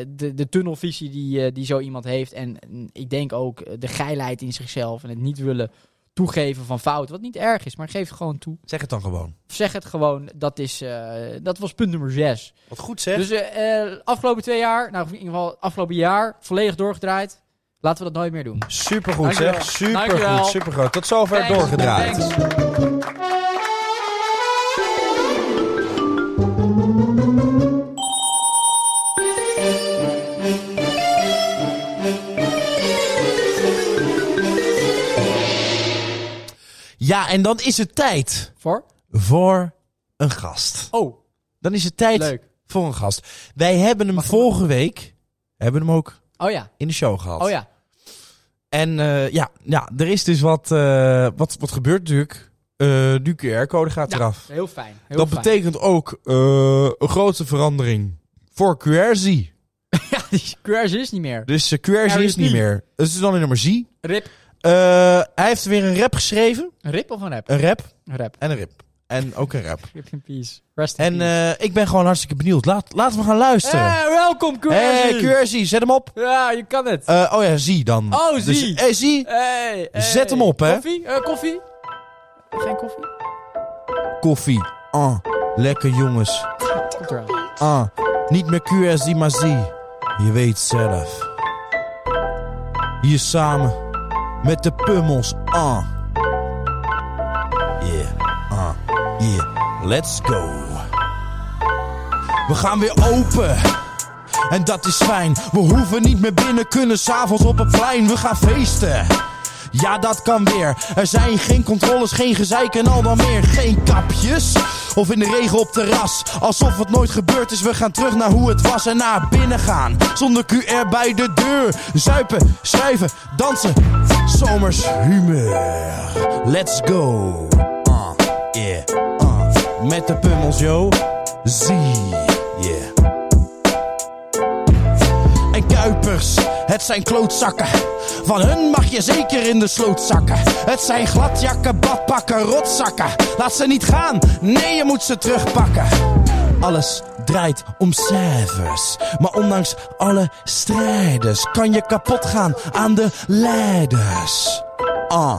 Speaker 2: eh, de, de tunnelvisie die, eh, die zo iemand heeft. En mm, ik denk ook eh, de geilheid in zichzelf. En het niet willen toegeven van fout. Wat niet erg is, maar geef het gewoon toe.
Speaker 1: Zeg het dan gewoon.
Speaker 2: Of zeg het gewoon. Dat, is, eh, dat was punt nummer zes.
Speaker 1: Wat goed zeg.
Speaker 2: Dus eh, eh, afgelopen twee jaar, nou in ieder geval afgelopen jaar, volledig doorgedraaid. Laten we dat nooit meer doen.
Speaker 1: Supergoed
Speaker 2: Dankjewel.
Speaker 1: zeg. Supergoed,
Speaker 2: Dankjewel.
Speaker 1: supergroot. Tot zover
Speaker 2: Thanks,
Speaker 1: doorgedraaid.
Speaker 2: thanks.
Speaker 1: Ja, en dan is het tijd
Speaker 2: Voor?
Speaker 1: voor een gast.
Speaker 2: Oh,
Speaker 1: Dan is het tijd
Speaker 2: leuk.
Speaker 1: voor een gast. Wij hebben hem
Speaker 2: Mag ik-
Speaker 1: vorige week hebben hem ook
Speaker 2: Oh ja,
Speaker 1: in de show gehad.
Speaker 2: oh ja.
Speaker 1: En eh, ja, ja, er is dus wat, eh, wat, wat gebeurt natuurlijk. Eh nu QR-code gaat
Speaker 2: Ja,
Speaker 1: eraf.
Speaker 2: Heel fijn. Heel
Speaker 1: Dat
Speaker 2: fijn.
Speaker 1: betekent ook eh, een grote verandering voor QRZ.
Speaker 2: Ja, die cursus is niet meer.
Speaker 1: Dus eh, QRZ is
Speaker 2: RIP.
Speaker 1: niet meer. Dus het is dan in nummer Z.
Speaker 2: Rip.
Speaker 1: Eh, hij heeft weer een rap geschreven.
Speaker 2: Een rip of een rap?
Speaker 1: Een rap
Speaker 2: Een rap.
Speaker 1: en een rip. en ook een rap.
Speaker 2: Rip in peace. Rest in
Speaker 1: En
Speaker 2: peace.
Speaker 1: eh, ik ben gewoon hartstikke benieuwd. Laat, laten we gaan luisteren.
Speaker 2: Hey, welkom, Quercy.
Speaker 1: hey, QRZ, zet hem op.
Speaker 2: Ja, je kan het.
Speaker 1: Eh, oh ja, zie dan.
Speaker 2: Oh, zie.
Speaker 1: eh, zie.
Speaker 2: Hey, hey.
Speaker 1: zet hem op, hè.
Speaker 2: Koffie? Eh, koffie? Geen koffie?
Speaker 1: Koffie. Ah, lekker jongens.
Speaker 2: Komt eraan.
Speaker 1: Ah, niet meer QRZ, maar zie. Je weet zelf. Hier samen met de pummels. Ah. Yeah, ah, yeah. Let's go. We gaan weer open. En dat is fijn. We hoeven niet meer binnen, kunnen s'avonds op het plein. We gaan feesten. Ja, dat kan weer. Er zijn geen controles, geen gezeik en al dan meer. Geen kapjes. Of in de regen op terras. Alsof het nooit gebeurd is. We gaan terug naar hoe het was en naar binnen gaan. Zonder QR bij de deur. Zuipen, schrijven, dansen. Zomers humeur. Let's go. Ah, yeah. Ah. Met de pummels, yo. Zie. Yeah en kuipers. Het zijn klootzakken, van hun mag je zeker in de sloot zakken. Het zijn gladjakken, badpakken, rotzakken. Laat ze niet gaan, nee je moet ze terugpakken. Alles draait om cijfers, maar ondanks alle strijders kan je kapot gaan aan de leiders. Ah.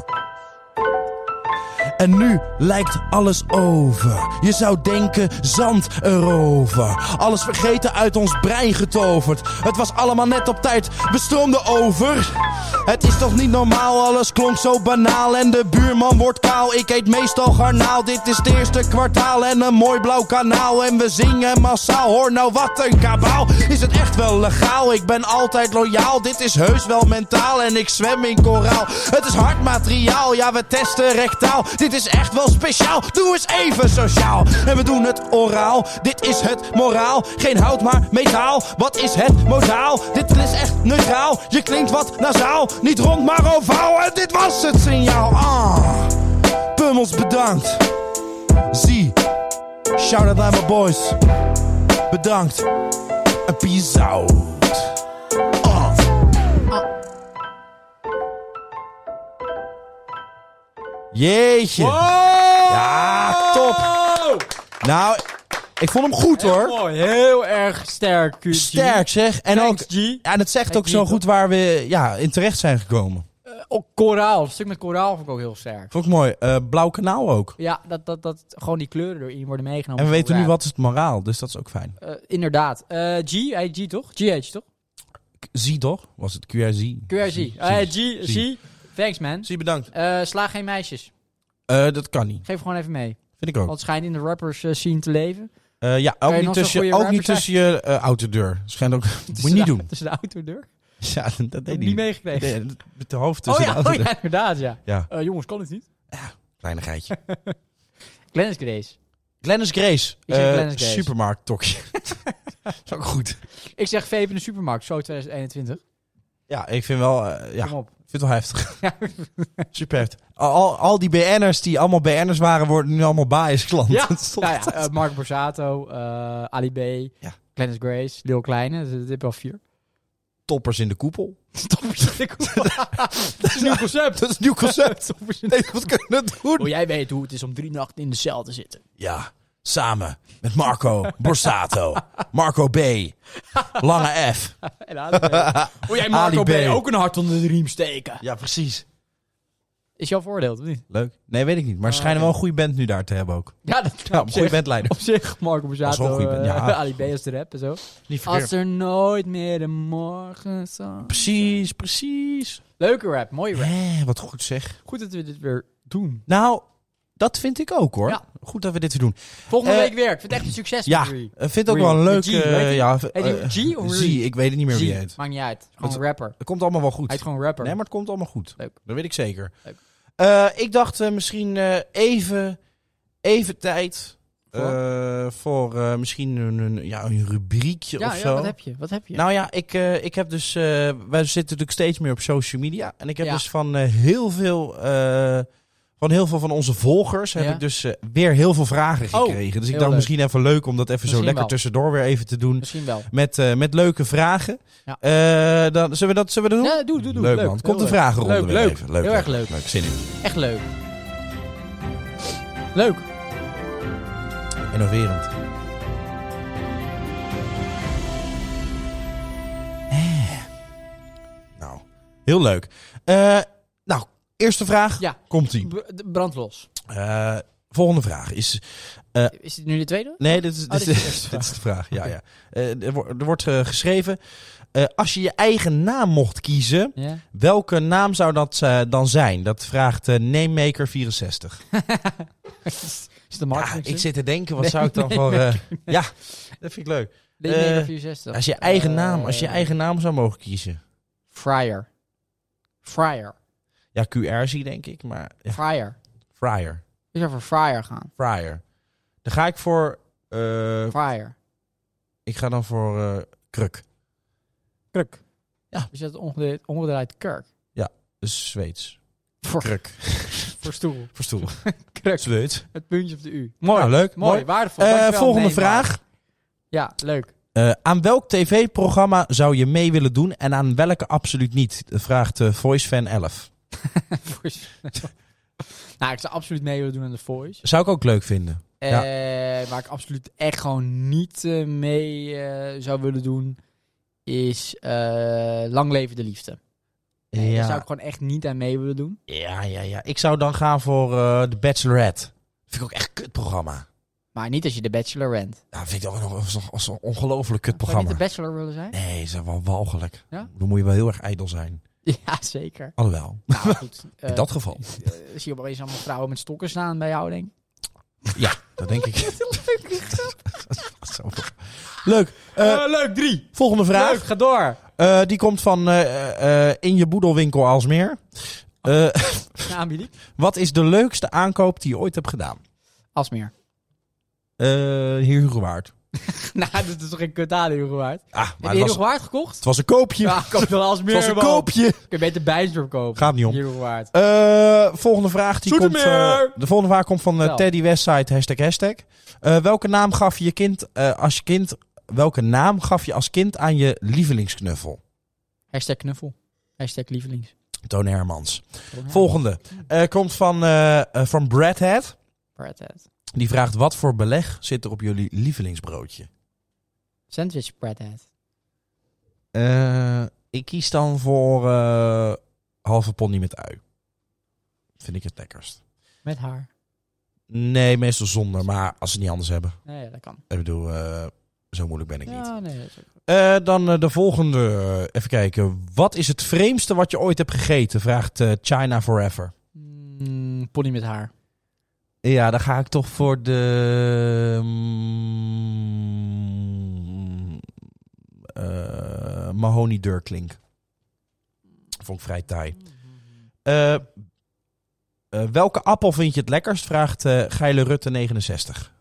Speaker 1: En nu lijkt alles over. Je zou denken, zand erover. Alles vergeten uit ons brein getoverd. Het was allemaal net op tijd, we stroomden over. Het is toch niet normaal, alles klonk zo banaal. En de buurman wordt kaal, ik eet meestal garnaal. Dit is het eerste kwartaal en een mooi blauw kanaal. En we zingen massaal, hoor nou wat een kabaal. Is het echt wel legaal? Ik ben altijd loyaal. Dit is heus wel mentaal en ik zwem in koraal. Het is hard materiaal, ja we testen rectaal. Dit is echt wel speciaal, doe eens even sociaal. En we doen het oraal, dit is het moraal. Geen hout maar metaal, wat is het modaal? Dit is echt neutraal, je klinkt wat nasaal. Niet rond maar ovaal, en dit was het signaal. Ah, pummels bedankt. Zie, shout out aan mijn boys. Bedankt, en peace out. Ah. Jeetje. Oh! Ja, top. Nou, ik vond hem goed
Speaker 2: Heel
Speaker 1: hoor.
Speaker 2: mooi, heel erg sterk, QG.
Speaker 1: Sterk zeg. En ook,
Speaker 2: Thanks, G.
Speaker 1: ja, en het zegt ook
Speaker 2: G,
Speaker 1: zo
Speaker 2: toch?
Speaker 1: goed waar we ja, in terecht zijn gekomen.
Speaker 2: Eh, Ook koraal, een stuk met koraal vond ik ook heel sterk.
Speaker 1: Vond ik mooi. Eh, Blauw kanaal ook.
Speaker 2: Ja, dat, dat, dat gewoon die kleuren erin worden meegenomen.
Speaker 1: En we weten nu
Speaker 2: Ja.
Speaker 1: wat is het moraal, dus dat is ook fijn.
Speaker 2: Eh, inderdaad. Eh, G, hij G toch? GH toch?
Speaker 1: K- Zie toch? Was het QRZ?
Speaker 2: QRZ. Eh, G, G. Thanks man.
Speaker 1: Zie, bedankt.
Speaker 2: Eh, sla geen meisjes.
Speaker 1: Eh, dat kan niet.
Speaker 2: Geef gewoon even mee.
Speaker 1: Vind ik ook.
Speaker 2: Want het schijnt in de rappers eh, scene te leven.
Speaker 1: Eh, ja,
Speaker 2: je
Speaker 1: ook niet
Speaker 2: nog zo'n
Speaker 1: tussen,
Speaker 2: goede
Speaker 1: ook
Speaker 2: rapper
Speaker 1: niet tussen je eh, autodeur. Schijnt ook. Moet je niet doen.
Speaker 2: Dat is de autodeur.
Speaker 1: Ja, dat deed
Speaker 2: Heb
Speaker 1: hij
Speaker 2: ik niet meegekregen.
Speaker 1: Nee, Met de hoofd
Speaker 2: Oh
Speaker 1: tussen
Speaker 2: ja,
Speaker 1: de
Speaker 2: oh
Speaker 1: autodeur.
Speaker 2: ja, inderdaad ja.
Speaker 1: Ja.
Speaker 2: Eh, jongens, kan het niet?
Speaker 1: Kleinigheidje.
Speaker 2: Glennis Grace.
Speaker 1: Glennis Grace.
Speaker 2: Ik zeg
Speaker 1: Eh,
Speaker 2: Glennis Grace.
Speaker 1: Supermarkt tokje. dat is ook goed.
Speaker 2: Ik zeg vape in de supermarkt, zo 2021.
Speaker 1: Ja, ik vind wel, eh, ja, ik
Speaker 2: Kom op.
Speaker 1: vind het wel heftig.
Speaker 2: Ja.
Speaker 1: Super heftig. Al- Al, al die BN'ers die allemaal BN'ers waren, worden nu allemaal bias klanten.
Speaker 2: Ja, nou ja, eh, Mark Borsato, eh, Ali B,
Speaker 1: Ja.
Speaker 2: Glennis Grace, Lil Kleine. Dus dit heb je al vier.
Speaker 1: toppers in de koepel.
Speaker 2: Toppers in de koepel. Dat is een nieuw concept.
Speaker 1: Dat is een nieuw concept.
Speaker 2: Toppers in de-
Speaker 1: nee, wat kunnen we doen?
Speaker 2: Wil jij weten hoe het is om drie nachten in de cel te zitten?
Speaker 1: Ja, samen met Marco Borsato. Marco B. Lange F.
Speaker 2: En Ali B. Wil jij Marco
Speaker 1: Ali
Speaker 2: B.
Speaker 1: B.
Speaker 2: ook een hart onder de riem steken?
Speaker 1: Ja, precies.
Speaker 2: Is jouw voordeel, of niet?
Speaker 1: Leuk. Nee, weet ik niet. Maar ze schijnen wel een goede band nu daar te hebben ook.
Speaker 2: Oh, Ja, dat
Speaker 1: Ja,
Speaker 2: op,
Speaker 1: een goede
Speaker 2: zich,
Speaker 1: bandleider.
Speaker 2: op zich, Marco
Speaker 1: Dat is wel
Speaker 2: Borsato,
Speaker 1: goed,
Speaker 2: eh,
Speaker 1: ja.
Speaker 2: Ali B als de rap en zo.
Speaker 1: Niet
Speaker 2: Als er nooit meer een morgen zal...
Speaker 1: Precies, precies.
Speaker 2: Leuke rap, mooie rap.
Speaker 1: Hé, wat goed zeg.
Speaker 2: Goed dat we dit weer doen.
Speaker 1: Nou, dat vind ik ook hoor.
Speaker 2: Ja.
Speaker 1: Goed dat we dit weer doen.
Speaker 2: Volgende
Speaker 1: Eh,
Speaker 2: week weer. Ik vind het echt een succes.
Speaker 1: Ja,
Speaker 2: Rie.
Speaker 1: ik vind het ook
Speaker 2: Real.
Speaker 1: wel een leuk...
Speaker 2: G, weet
Speaker 1: eh,
Speaker 2: je?
Speaker 1: ja,
Speaker 2: Heet die
Speaker 1: eh,
Speaker 2: G of
Speaker 1: Z,
Speaker 2: Rie?
Speaker 1: ik weet het niet meer
Speaker 2: G.
Speaker 1: wie hij heet.
Speaker 2: Maakt niet uit. Gewoon
Speaker 1: Wat-
Speaker 2: een rapper. Hij
Speaker 1: Het komt allemaal wel goed.
Speaker 2: is gewoon rapper.
Speaker 1: Nee, maar het komt allemaal goed.
Speaker 2: Leuk.
Speaker 1: Dat weet ik zeker.
Speaker 2: Leuk.
Speaker 1: Eh, ik dacht eh, misschien eh, even, even tijd
Speaker 2: Voor?
Speaker 1: eh, voor eh, misschien een, een- ja, een rubriekje
Speaker 2: ja,
Speaker 1: of
Speaker 2: ja,
Speaker 1: zo.
Speaker 2: wat heb je? Wat heb je?
Speaker 1: Nou ja, ik, eh, ik heb dus. eh, wij zitten natuurlijk steeds meer op social media. En ik heb
Speaker 2: Ja.
Speaker 1: dus van eh, heel veel. eh, van heel veel van onze volgers heb
Speaker 2: Ja.
Speaker 1: ik dus eh, weer heel veel vragen
Speaker 2: Oh,
Speaker 1: gekregen. dus ik
Speaker 2: heel
Speaker 1: dacht
Speaker 2: leuk.
Speaker 1: misschien even leuk om dat even zo
Speaker 2: Misschien
Speaker 1: lekker
Speaker 2: wel.
Speaker 1: tussendoor weer even te doen.
Speaker 2: Misschien wel.
Speaker 1: Met, eh, met leuke vragen.
Speaker 2: Ja.
Speaker 1: Eh, dan, zullen, we dat, zullen we dat doen?
Speaker 2: Ja, doe, doe, doe.
Speaker 1: Leuk, man. Komt
Speaker 2: Heel
Speaker 1: een vragenronde
Speaker 2: Leuk,
Speaker 1: weer
Speaker 2: leuk.
Speaker 1: even.
Speaker 2: Heel erg leuk.
Speaker 1: Leuk, zin in.
Speaker 2: Echt leuk. Leuk.
Speaker 1: Innoverend. Eh. Nou, heel leuk. Eh, nou, eerste vraag.
Speaker 2: Ja.
Speaker 1: Komt-ie.
Speaker 2: B- de brand los.
Speaker 1: Eh, volgende vraag is...
Speaker 2: Is dit nu de tweede?
Speaker 1: Nee, dit is,
Speaker 2: Oh,
Speaker 1: dit
Speaker 2: dit
Speaker 1: is,
Speaker 2: is de eerste
Speaker 1: dit is de vraag. Ja, ja. Eh, er, wo- er wordt eh, geschreven... eh, als je je eigen naam mocht kiezen,
Speaker 2: Ja.
Speaker 1: welke naam zou dat eh, dan zijn? Dat vraagt eh Namemaker64.
Speaker 2: is de
Speaker 1: Ja,
Speaker 2: marketing?
Speaker 1: ik zit te denken, wat zou ik dan voor... eh, ja, dat vind ik leuk. eh, Als je eigen
Speaker 2: Eh.
Speaker 1: naam, als je eigen naam zou mogen kiezen.
Speaker 2: Fryer. Fryer.
Speaker 1: Ja, QR zie denk ik, maar ja,
Speaker 2: Fryer.
Speaker 1: Fryer.
Speaker 2: Ik zou voor Fryer gaan.
Speaker 1: Fryer. Dan ga ik voor... eh,
Speaker 2: Fryer.
Speaker 1: ik ga dan voor eh, Kruk.
Speaker 2: Kruk.
Speaker 1: Ja.
Speaker 2: Is dat omgedraaid, omgedraaid kurk?
Speaker 1: Dus Zweeds.
Speaker 2: Voor,
Speaker 1: Kruk.
Speaker 2: voor stoel.
Speaker 1: Voor stoel.
Speaker 2: Kruk.
Speaker 1: Zweeds.
Speaker 2: Het puntje op de U. Mooi.
Speaker 1: Nou, leuk.
Speaker 2: Mooi.
Speaker 1: Mooi.
Speaker 2: Waardevol.
Speaker 1: Eh,
Speaker 2: Dankjewel.
Speaker 1: volgende
Speaker 2: Nee,
Speaker 1: vraag.
Speaker 2: maar- Ja, leuk.
Speaker 1: Eh, aan welk tv-programma zou je mee willen doen en aan welke absoluut niet? Dat vraagt eh, VoiceFan11.
Speaker 2: Voor- nou, ik zou absoluut mee willen doen aan de Voice.
Speaker 1: Zou ik ook leuk vinden.
Speaker 2: Eh,
Speaker 1: Ja.
Speaker 2: Waar ik absoluut echt gewoon niet eh, mee eh, zou willen doen, is eh, Lang Leven de Liefde. Nee, Daar zou ik gewoon echt niet aan mee willen doen.
Speaker 1: ja, ja, ja. Ik zou dan gaan voor eh The Bachelorette. Vind ik ook echt een kutprogramma.
Speaker 2: Maar niet als je de Bachelor rent.
Speaker 1: Ja, vind ik ook nog als, als een ongelooflijk
Speaker 2: Zou je
Speaker 1: kutprogramma.
Speaker 2: niet de Bachelor willen zijn?
Speaker 1: Nee, dat is wel walgelijk.
Speaker 2: Ja?
Speaker 1: Dan moet je wel heel erg ijdel zijn.
Speaker 2: Ja, zeker.
Speaker 1: Alhoewel,
Speaker 2: Nou, goed.
Speaker 1: in dat geval.
Speaker 2: eh, zie je opeens allemaal vrouwen met stokken staan bij jou, denk ik.
Speaker 1: Dat denk ik. Zo. Leuk. Eh,
Speaker 2: leuk, drie.
Speaker 1: volgende vraag.
Speaker 2: Leuk, ga door.
Speaker 1: Eh, die komt van eh, eh, In je boedelwinkel Alsmeer. Eh,
Speaker 2: Nou, Billy.
Speaker 1: wat is de leukste aankoop die je ooit hebt gedaan?
Speaker 2: Asmeer.
Speaker 1: Eh heer Hugewaard.
Speaker 2: nou, dat is toch geen kut aan, Heerhugowaard?
Speaker 1: Ah, maar
Speaker 2: Heb je
Speaker 1: het was,
Speaker 2: Heerhugowaard gekocht?
Speaker 1: het was een koopje.
Speaker 2: Ja, ik koop dan Asmeer.
Speaker 1: het was een
Speaker 2: man.
Speaker 1: koopje.
Speaker 2: Kun je beter Bijnsdorp kopen.
Speaker 1: Gaat niet om.
Speaker 2: Heerhugowaard.
Speaker 1: Eh, volgende vraag die komt, eh,
Speaker 2: Zoetermeer!
Speaker 1: de volgende vraag komt van eh,
Speaker 2: Wel.
Speaker 1: Teddy Westside, hashtag hashtag. Eh, welke naam gaf je je kind eh, als je kind... Welke naam gaf je als kind aan je lievelingsknuffel?
Speaker 2: Hashtag knuffel. Hashtag lievelings.
Speaker 1: Toon Hermans. Volgende. Eh, komt van, eh eh, van Bradhead.
Speaker 2: Brad Head.
Speaker 1: Die vraagt, wat voor beleg zit er op jullie lievelingsbroodje?
Speaker 2: Sandwich Brad Head.
Speaker 1: Eh, ik kies dan voor eh, halve ponnie met ui. Vind ik het lekkerst.
Speaker 2: Met haar.
Speaker 1: Nee, meestal zonder. Maar als ze het niet anders hebben.
Speaker 2: Nee, ja, dat kan.
Speaker 1: Ik bedoel, eh, zo moeilijk ben ik niet.
Speaker 2: Ja, nee, dat is ook-
Speaker 1: Eh, dan eh, de volgende. Even kijken. Wat is het vreemdste wat je ooit hebt gegeten? Vraagt eh, China Forever.
Speaker 2: Mm, pony met haar.
Speaker 1: Ja, dan ga ik toch voor de... mm, eh, Mahoney Durklink. Vond ik vrij taai. Eh, eh, welke appel vind je het lekkerst? Vraagt eh, Geile Rutte 69.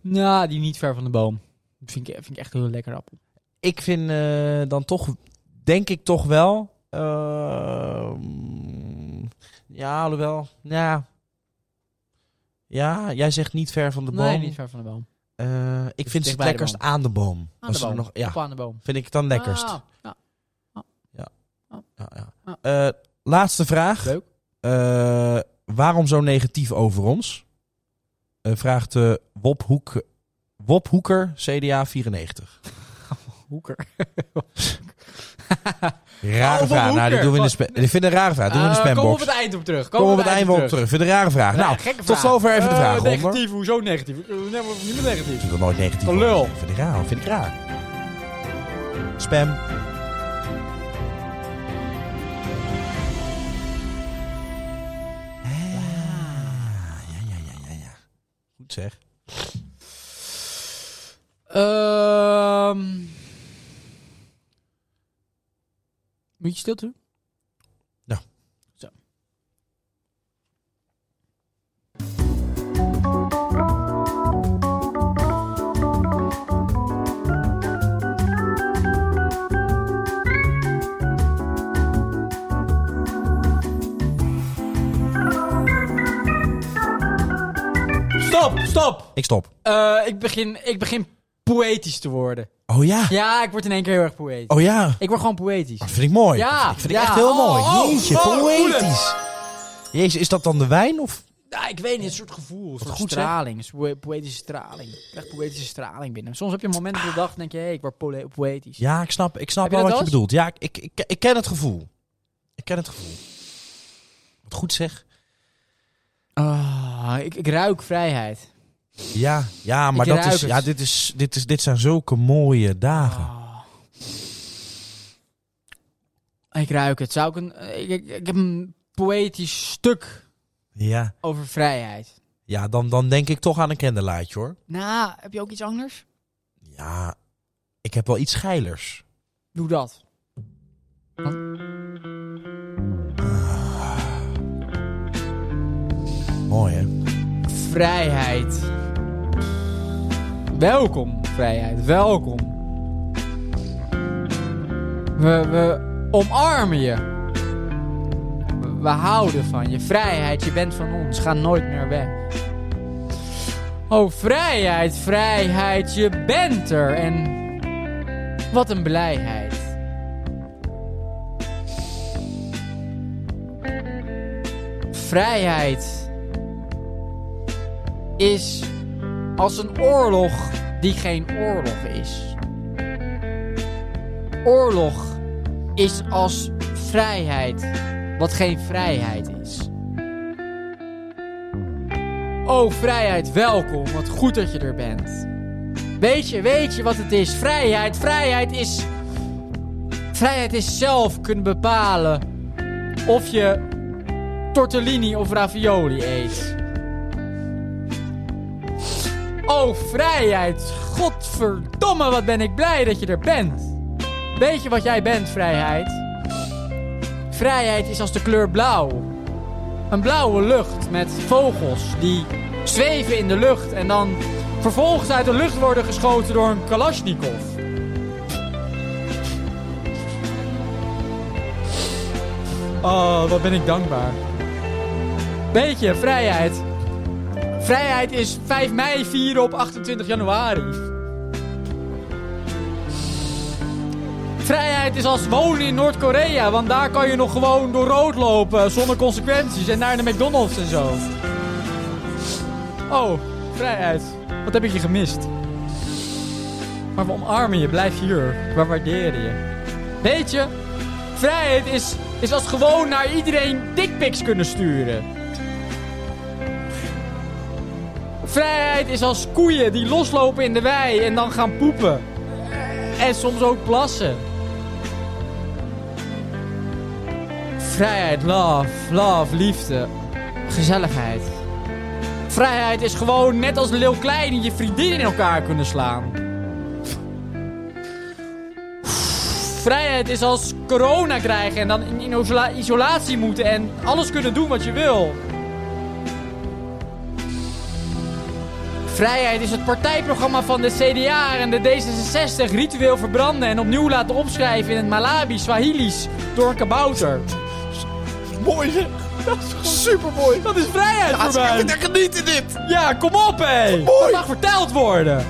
Speaker 2: Nou, die niet ver van de boom. Dat vind ik, vind ik echt een heel lekker appel.
Speaker 1: Ik vind eh, dan toch, denk ik toch wel. eh, ja, alhoewel. nou Ja. ja, jij zegt niet ver van de boom.
Speaker 2: Nee, niet ver van de boom.
Speaker 1: Eh, ik
Speaker 2: Dus
Speaker 1: vind
Speaker 2: dicht
Speaker 1: het
Speaker 2: bij de
Speaker 1: lekkerst
Speaker 2: boom.
Speaker 1: aan de boom.
Speaker 2: Aan
Speaker 1: Als
Speaker 2: de
Speaker 1: er
Speaker 2: boom.
Speaker 1: Nog, ja,
Speaker 2: Op aan de boom.
Speaker 1: vind ik het dan lekkerst.
Speaker 2: Ah, ja.
Speaker 1: Ja, ja. Eh, laatste vraag.
Speaker 2: Ah. Leuk.
Speaker 1: Eh, waarom zo negatief over ons? Eh, vraagt eh Wop, Hoek, Wop Hoeker, CDA 94.
Speaker 2: Hoeker.
Speaker 1: Rare
Speaker 2: Wop
Speaker 1: vraag. Nou,
Speaker 2: Hoeker.
Speaker 1: dit doen we in de spe- ik vind het een rare vraag. Doen we in de
Speaker 2: Oh, Eh,
Speaker 1: spambox.
Speaker 2: Kom op het eind op terug.
Speaker 1: Kom op het eind wel op
Speaker 2: op
Speaker 1: terug. Ik Vind het een rare vraag.
Speaker 2: Nou,
Speaker 1: nou,
Speaker 2: gekke
Speaker 1: tot
Speaker 2: vraag.
Speaker 1: zover even de
Speaker 2: Eh,
Speaker 1: vraag, Homer.
Speaker 2: Negatief, hoezo negatief? Eh, Nee, maar niet meer negatief.
Speaker 1: Ik vind het nooit negatief.
Speaker 2: Een lul.
Speaker 1: Ik Vind ik raar. Vind ik raar. Spam. Ah, ja, ja, ja, ja, ja. Goed zeg.
Speaker 2: Ehm. Moet je stil doen?
Speaker 1: Ja.
Speaker 2: Zo. Stop, stop!
Speaker 1: Ik stop.
Speaker 2: Eh, ik, begin, ik begin poëtisch te worden.
Speaker 1: Oh ja.
Speaker 2: Ja, ik word in één keer heel erg poëtisch.
Speaker 1: Oh ja.
Speaker 2: Ik word gewoon poëtisch.
Speaker 1: Dat vind ik mooi.
Speaker 2: Ja,
Speaker 1: Dat vind ik
Speaker 2: ja.
Speaker 1: echt heel
Speaker 2: Oh,
Speaker 1: mooi.
Speaker 2: oh,
Speaker 1: Jeetje,
Speaker 2: oh,
Speaker 1: poëtisch. Jezus, is dat dan de wijn of...
Speaker 2: Nou, ik weet niet, een soort gevoel, een soort
Speaker 1: goed, zeg.
Speaker 2: straling, een soort poëtische straling. Ik krijg poëtische straling binnen. Soms heb je momenten op de dag, denk je, hé, ik word pole- poëtisch.
Speaker 1: Ja, ik snap, ik snap
Speaker 2: Heb je
Speaker 1: wel wat
Speaker 2: dat
Speaker 1: je
Speaker 2: wel
Speaker 1: bedoelt. Ja, ik, ik, ik, ik ken het gevoel. Ik ken het gevoel. Wat goed zeg.
Speaker 2: Ah, ik, ik ruik vrijheid.
Speaker 1: Ja, ja maar
Speaker 2: Ik
Speaker 1: dat
Speaker 2: ruik
Speaker 1: is,
Speaker 2: het.
Speaker 1: ja, dit, is, dit, is, dit zijn zulke mooie dagen.
Speaker 2: Ah. Ik ruik het. Zou ik een, eh, ik, ik, ik heb een poëtisch stuk
Speaker 1: Ja,
Speaker 2: over vrijheid.
Speaker 1: ja dan, dan denk ik toch aan een candelaatje hoor.
Speaker 2: Nou, heb je ook iets anders?
Speaker 1: Ja, ik heb wel iets geilers.
Speaker 2: Doe dat.
Speaker 1: Mooi hè?
Speaker 2: Vrijheid. Welkom, vrijheid. Welkom. We, we omarmen je. We, we houden van je. Vrijheid, je bent van ons. Ga nooit meer weg. Oh, vrijheid, vrijheid, je bent er. En wat een blijheid. Vrijheid is als een oorlog die geen oorlog is. Oorlog is als vrijheid wat geen vrijheid is. O vrijheid, welkom, wat goed dat je er bent. Weet je, weet je wat het is? Vrijheid, vrijheid is. Vrijheid is zelf kunnen bepalen of je tortellini of ravioli eet. Oh, vrijheid. Godverdomme, wat ben ik blij dat je er bent. Weet je wat jij bent, vrijheid? Vrijheid is als de kleur blauw. Een blauwe lucht met vogels die zweven in de lucht en dan vervolgens uit de lucht worden geschoten door een Kalashnikov. Oh, wat ben ik dankbaar. Weet je, vrijheid. Vrijheid is 5 mei vieren op 28 januari. Vrijheid is als wonen in Noord-Korea, want daar kan je nog gewoon door rood lopen zonder consequenties en naar de McDonald's en zo. Oh, vrijheid. Wat heb ik je gemist? Maar we omarmen je, blijf hier. We waarderen je. Weet je, vrijheid is, is als gewoon naar iedereen dickpics kunnen sturen. Vrijheid is als koeien die loslopen in de wei en dan gaan poepen. En soms ook plassen. Vrijheid, love, love, liefde, gezelligheid. Vrijheid is gewoon net als Leeuw Klein je vriendin in elkaar kunnen slaan. Vrijheid is als corona krijgen en dan in- in isola- isolatie moeten en alles kunnen doen wat je wil. Vrijheid is het partijprogramma van de CDA en de D66 ritueel verbranden en opnieuw laten opschrijven in het Malawi Swahili's door een kabouter.
Speaker 1: Mooi hè? Dat is supermooi.
Speaker 2: Dat is vrijheid voor mij.
Speaker 1: genieten dit.
Speaker 2: Ja, kom op hé. Dat mag verteld worden.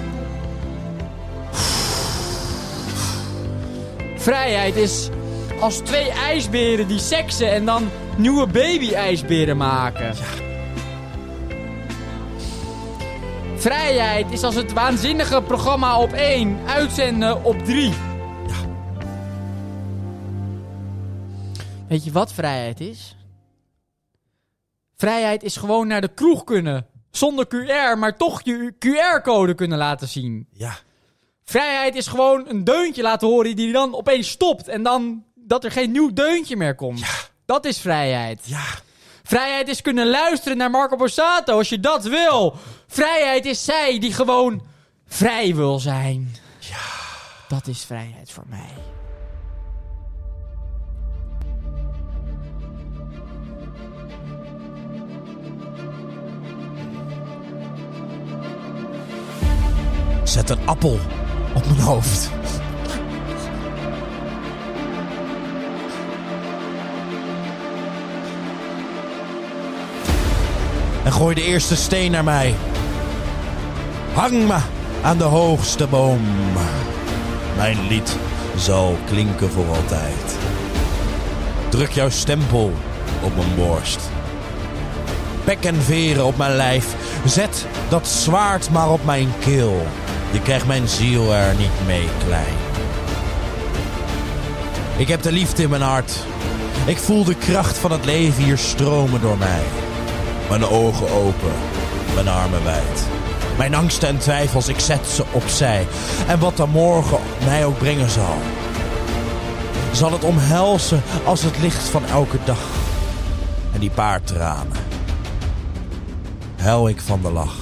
Speaker 2: Vrijheid is als twee ijsberen die seksen en dan nieuwe baby-ijsberen maken. Vrijheid is als het waanzinnige programma op 1 uitzenden op 3. Weet je wat vrijheid is? Vrijheid is gewoon naar de kroeg kunnen. Zonder QR, maar toch je QR-code kunnen laten zien.
Speaker 1: Ja,
Speaker 2: Vrijheid is gewoon een deuntje laten horen die dan opeens stopt. En dan dat er geen nieuw deuntje meer komt. Dat is vrijheid.
Speaker 1: ja.
Speaker 2: Vrijheid is kunnen luisteren naar Marco Borsato als je dat wil. Vrijheid is zij die gewoon vrij wil zijn. Ja. Dat is vrijheid voor mij.
Speaker 1: Zet een appel op mijn hoofd. En gooi de eerste steen naar mij. Hang me aan de hoogste boom. Mijn lied zal klinken voor altijd. Druk jouw stempel op mijn borst. pek en veren op mijn lijf. Zet dat zwaard maar op mijn keel. Je krijgt mijn ziel er niet mee klein. Ik heb de liefde in mijn hart. Ik voel de kracht van het leven hier stromen door mij. Mijn ogen open, mijn armen wijd. Mijn angsten en twijfels, ik zet ze opzij. En wat dan morgen mij ook brengen zal, zal het omhelzen als het licht van elke dag. En die paar tranen, huil ik van de lach.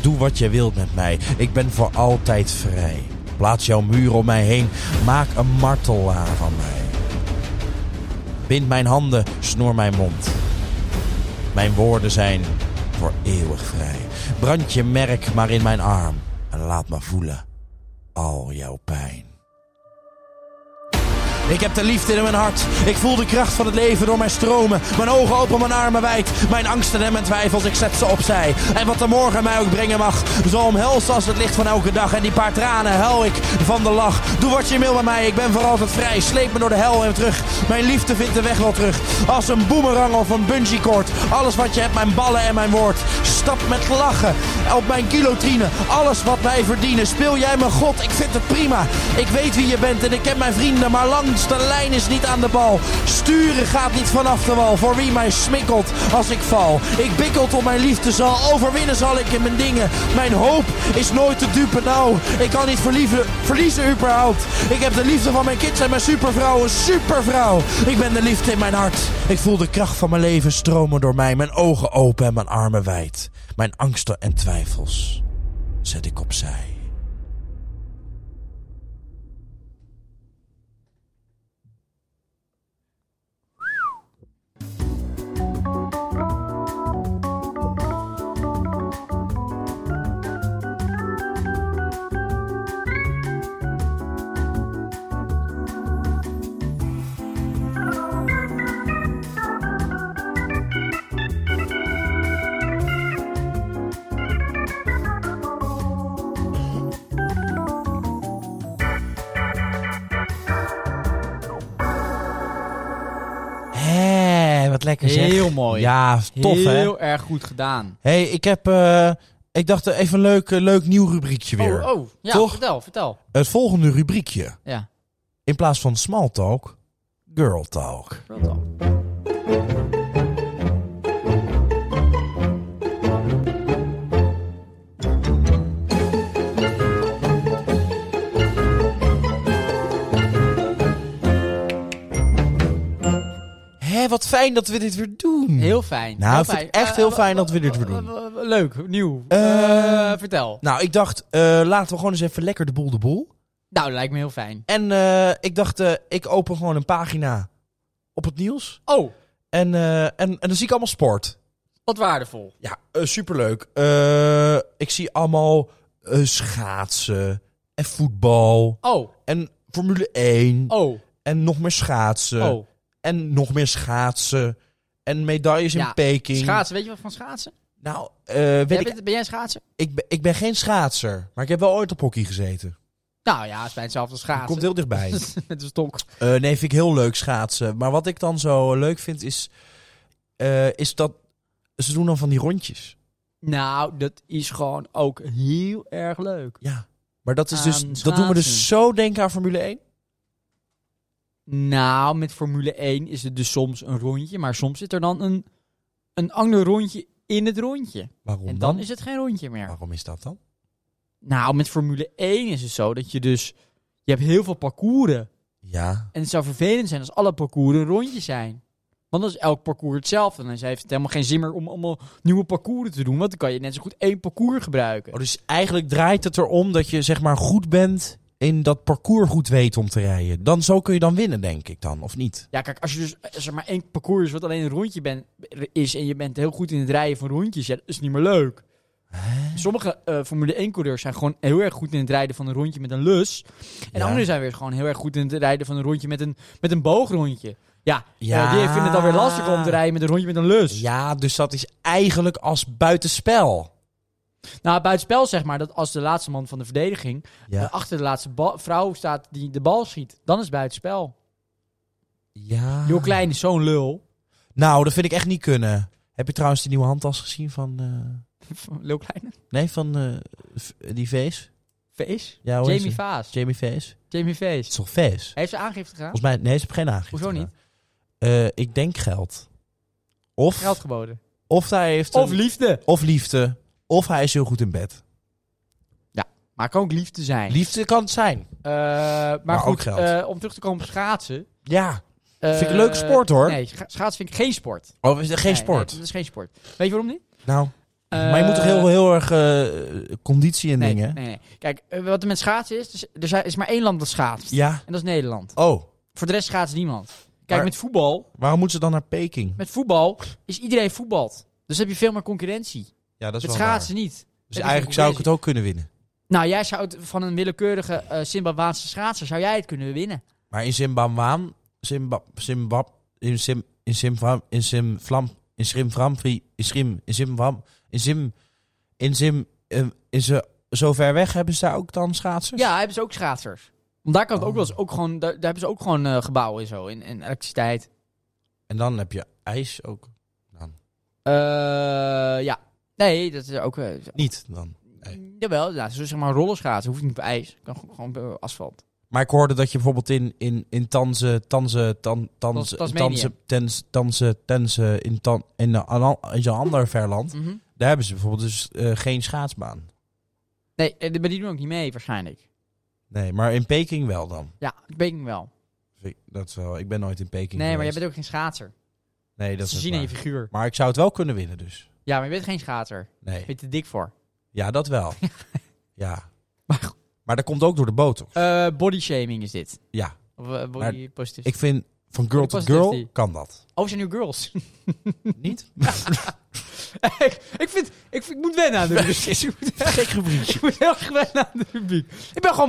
Speaker 1: Doe wat je wilt met mij, ik ben voor altijd vrij. Plaats jouw muur om mij heen, maak een martelaar van mij. Bind mijn handen, snoer mijn mond. Mijn woorden zijn voor eeuwig vrij. Brand je merk maar in mijn arm en laat me voelen al jouw pijn. Ik heb de liefde in mijn hart. Ik voel de kracht van het leven door mij stromen. Mijn ogen open, mijn armen wijd. Mijn angsten en mijn twijfels, ik zet ze opzij. En wat de morgen mij ook brengen mag, zo omhelst als het licht van elke dag. En die paar tranen huil ik van de lach. Doe wat je wil met mij, ik ben voor altijd vrij. Sleep me door de hel en terug. Mijn liefde vindt de weg wel terug. Als een boemerang of een bungee cord. Alles wat je hebt, mijn ballen en mijn woord. Stap met lachen op mijn kilotrine. Alles wat wij verdienen. Speel jij mijn god, ik vind het prima. Ik weet wie je bent en ik ken mijn vrienden, maar langs de lijn is niet aan de bal. Sturen gaat niet vanaf de wal. Voor wie mij smikkelt als ik val. Ik bikkel tot mijn liefde zal. Overwinnen zal ik in mijn dingen. Mijn hoop is nooit te dupe. Nou, ik kan niet verlieven, verliezen überhaupt. Ik heb de liefde van mijn kids en mijn supervrouw. Een supervrouw. Ik ben de liefde in mijn hart. Ik voel de kracht van mijn leven stromen door mij. Mijn ogen open en mijn armen wijd. Mijn angsten en twijfels zet ik opzij. Hé, Eh, wat lekker zeg.
Speaker 2: Heel mooi.
Speaker 1: Ja, tof
Speaker 2: Heel
Speaker 1: hè?
Speaker 2: erg goed gedaan.
Speaker 1: hey, ik heb... eh, ik dacht eh, even een leuk, eh, leuk nieuw rubriekje weer.
Speaker 2: Oh, oh ja,
Speaker 1: Toch?
Speaker 2: vertel, vertel.
Speaker 1: Het volgende rubriekje.
Speaker 2: Ja.
Speaker 1: In plaats van small talk, girl talk.
Speaker 2: Vertel.
Speaker 1: Hé, wat fijn dat we dit weer doen.
Speaker 2: Heel fijn.
Speaker 1: Nou, ik vind het echt
Speaker 2: Eh,
Speaker 1: heel
Speaker 2: eh,
Speaker 1: fijn
Speaker 2: eh,
Speaker 1: dat we dit
Speaker 2: eh,
Speaker 1: weer doen.
Speaker 2: eh, eh, Leuk, nieuw.
Speaker 1: Eh,
Speaker 2: Eh, vertel.
Speaker 1: Nou, ik dacht, eh, laten we gewoon eens even lekker de boel de boel.
Speaker 2: Nou, lijkt me heel fijn.
Speaker 1: En eh, ik dacht, eh, ik open gewoon een pagina op het nieuws.
Speaker 2: Oh,
Speaker 1: En, eh, en, en dan zie ik allemaal sport.
Speaker 2: wat waardevol.
Speaker 1: Ja, eh, superleuk. Eh, ik zie allemaal eh, schaatsen en voetbal
Speaker 2: Oh,
Speaker 1: en Formule 1
Speaker 2: oh,
Speaker 1: en nog meer schaatsen.
Speaker 2: oh.
Speaker 1: En nog meer schaatsen. En medailles in
Speaker 2: Ja,
Speaker 1: Peking.
Speaker 2: Schaatsen, weet je wat van schaatsen?
Speaker 1: Nou, eh, weet
Speaker 2: Jij
Speaker 1: ik,
Speaker 2: bent- ben jij een schaatser?
Speaker 1: ik, ben, ik ben geen schaatser. Maar ik heb wel ooit op hockey gezeten.
Speaker 2: Nou ja, het is bij hetzelfde als schaatsen.
Speaker 1: Komt heel dichtbij.
Speaker 2: Met een stok.
Speaker 1: Eh, nee, vind ik heel leuk schaatsen. Maar wat ik dan zo leuk vind is... eh, is dat ze doen dan van die rondjes.
Speaker 2: Nou, dat is gewoon ook heel erg leuk.
Speaker 1: Ja. Maar dat, is
Speaker 2: Aan
Speaker 1: dus, dat doen we
Speaker 2: schaatsen.
Speaker 1: dus zo denken aan Formule 1.
Speaker 2: Nou, met Formule 1 is het dus soms een rondje, maar soms zit er dan een, een ander rondje in het rondje.
Speaker 1: Waarom
Speaker 2: En dan is het geen rondje meer.
Speaker 1: Waarom is dat dan?
Speaker 2: Nou, met Formule 1 is het zo dat je dus... Je hebt heel veel parcoursen.
Speaker 1: Ja.
Speaker 2: En het zou vervelend zijn als alle parcours een rondje zijn. Want dan is elk parcours hetzelfde. En dan heeft het helemaal geen zin meer om allemaal nieuwe parcours te doen. Want dan kan je net zo goed één parcours gebruiken.
Speaker 1: Oh, dus eigenlijk draait het erom dat je zeg maar goed bent... in dat parcours goed weet om te rijden. Dan zo kun je dan winnen, denk ik dan. Of niet?
Speaker 2: Ja, kijk, als je dus als er maar één parcours is wat alleen een rondje ben, is... en je bent heel goed in het rijden van rondjes, ja, dat is niet meer leuk. Sommige eh, Formule 1-coureurs zijn gewoon heel erg goed in het rijden van een rondje met een lus. En
Speaker 1: Ja.
Speaker 2: anderen zijn weer gewoon heel erg goed in het rijden van een rondje met een, met een boogrondje. Ja,
Speaker 1: Ja.
Speaker 2: ja. die vinden het alweer lastig om te rijden met een rondje met een lus.
Speaker 1: Ja, dus dat is eigenlijk als buitenspel.
Speaker 2: Nou, buitenspel zeg maar dat als de laatste man van de verdediging eh, achter de laatste ba- vrouw staat die de bal schiet, dan is het buitenspel.
Speaker 1: ja. Ah.
Speaker 2: Jo Klein is zo'n lul.
Speaker 1: Nou, dat vind ik echt niet kunnen. Heb je trouwens die nieuwe handtas gezien van... eh,
Speaker 2: Leeuw Kleine.
Speaker 1: nee, van eh, v- die Vees?
Speaker 2: Face?
Speaker 1: Ja, hoe heet
Speaker 2: Jamie
Speaker 1: ze?
Speaker 2: Vaas.
Speaker 1: Jamie Vees.
Speaker 2: Jamie
Speaker 1: Het is
Speaker 2: Face.
Speaker 1: toch Vees?
Speaker 2: Heeft ze aangifte gedaan?
Speaker 1: Volgens mij... Nee, ze heeft geen aangifte
Speaker 2: Hoezo niet?
Speaker 1: gedaan. Eh, ik denk geld. Of,
Speaker 2: Geld geboden.
Speaker 1: of hij heeft...
Speaker 2: Of
Speaker 1: een-
Speaker 2: liefde.
Speaker 1: of liefde. Of hij is heel goed in bed.
Speaker 2: Maar kan ook liefde zijn.
Speaker 1: Liefde kan het zijn.
Speaker 2: Eh, maar,
Speaker 1: Maar
Speaker 2: goed,
Speaker 1: ook geld.
Speaker 2: eh, om terug te komen op schaatsen.
Speaker 1: Ja.
Speaker 2: eh,
Speaker 1: Vind ik een leuke sport, hoor.
Speaker 2: Nee, scha- schaatsen vind ik geen sport.
Speaker 1: Oh, is er geen
Speaker 2: Nee,
Speaker 1: sport?
Speaker 2: nee, dat is geen sport. Weet je waarom niet?
Speaker 1: Nou, maar je moet toch heel, heel erg eh, conditie en
Speaker 2: nee,
Speaker 1: dingen?
Speaker 2: Nee, nee. Kijk, eh, wat er met schaatsen is, dus, er zijn- is maar één land dat schaatst.
Speaker 1: Ja.
Speaker 2: En dat is Nederland.
Speaker 1: Oh,
Speaker 2: Voor de rest schaatst niemand. Kijk,
Speaker 1: Maar-
Speaker 2: met voetbal,
Speaker 1: waarom moeten ze dan naar Peking?
Speaker 2: met voetbal is iedereen voetbald. Dus heb je veel meer concurrentie.
Speaker 1: Ja, dat
Speaker 2: met schaatsen niet.
Speaker 1: Dus
Speaker 2: is
Speaker 1: eigenlijk
Speaker 2: ook
Speaker 1: zou ik
Speaker 2: bezig.
Speaker 1: het ook kunnen winnen.
Speaker 2: Nou, jij zou het van een willekeurige eh Zimbabweanse schaatser zou jij het kunnen winnen.
Speaker 1: Maar in Zimbabwaan, Zimbab, Zimbab, in Sim, in Simvram, in Simvlam, in Schrimvramfri, in Schrim, in Zimbam, in Zim, in Zim, eh, in ze, zo ver weg hebben ze daar ook dan schaatsers?
Speaker 2: Ja, hebben ze ook schaatsers. Want daar kan het ook
Speaker 1: Oh.
Speaker 2: wel eens ook gewoon, daar, daar hebben ze ook gewoon eh, gebouwen en zo, en, en elektriciteit.
Speaker 1: En dan heb je ijs ook. Dan.
Speaker 2: Eh, ja. Nee, dat is ook. eh,
Speaker 1: Niet dan. Nee.
Speaker 2: Jawel, ja, zo zeg maar rollerschaatsen. Hoeft niet op ijs. Kan gewoon- gewoon op eh, asfalt.
Speaker 1: Maar ik hoorde dat je bijvoorbeeld in, in, in Tanze, Tanze, Tan, Tanze,
Speaker 2: Tas- Tasmanië.
Speaker 1: Tanze, Tens- Tanze, Tenze, in, tan, in, een an- in zo'n ander verland, daar hebben ze bijvoorbeeld dus eh, geen schaatsbaan.
Speaker 2: Nee, eh, maar die doen ook niet mee waarschijnlijk.
Speaker 1: Nee, maar in Peking wel dan. Dus
Speaker 2: Ja, dat weet ik wel.
Speaker 1: Ik- Dat is wel, ik ben nooit in Peking
Speaker 2: Nee, maar jij
Speaker 1: geweest.
Speaker 2: bent ook geen schaatser.
Speaker 1: Nee, dat
Speaker 2: Dat
Speaker 1: is
Speaker 2: ze
Speaker 1: ook
Speaker 2: zien aan je
Speaker 1: waar.
Speaker 2: figuur.
Speaker 1: Maar ik zou het wel kunnen winnen dus.
Speaker 2: Ja, maar je bent geen schaatser.
Speaker 1: Nee.
Speaker 2: Je bent te dik voor.
Speaker 1: Ja, dat wel. ja.
Speaker 2: Maar goed.
Speaker 1: Maar dat komt ook door de botox.
Speaker 2: Eh body shaming is dit.
Speaker 1: Ja.
Speaker 2: Of eh, body positive.
Speaker 1: Ik vind, van girl
Speaker 2: Ik
Speaker 1: to
Speaker 2: was
Speaker 1: girl
Speaker 2: deftig.
Speaker 1: kan dat.
Speaker 2: Oh, zijn nu girls.
Speaker 1: Niet?
Speaker 2: ik, ik, vind, ik, vind- ik moet wennen aan de rubriek. ik, moet,
Speaker 1: Gek rubriekje.
Speaker 2: ik moet heel erg wennen aan de rubriek. Ik ben gewoon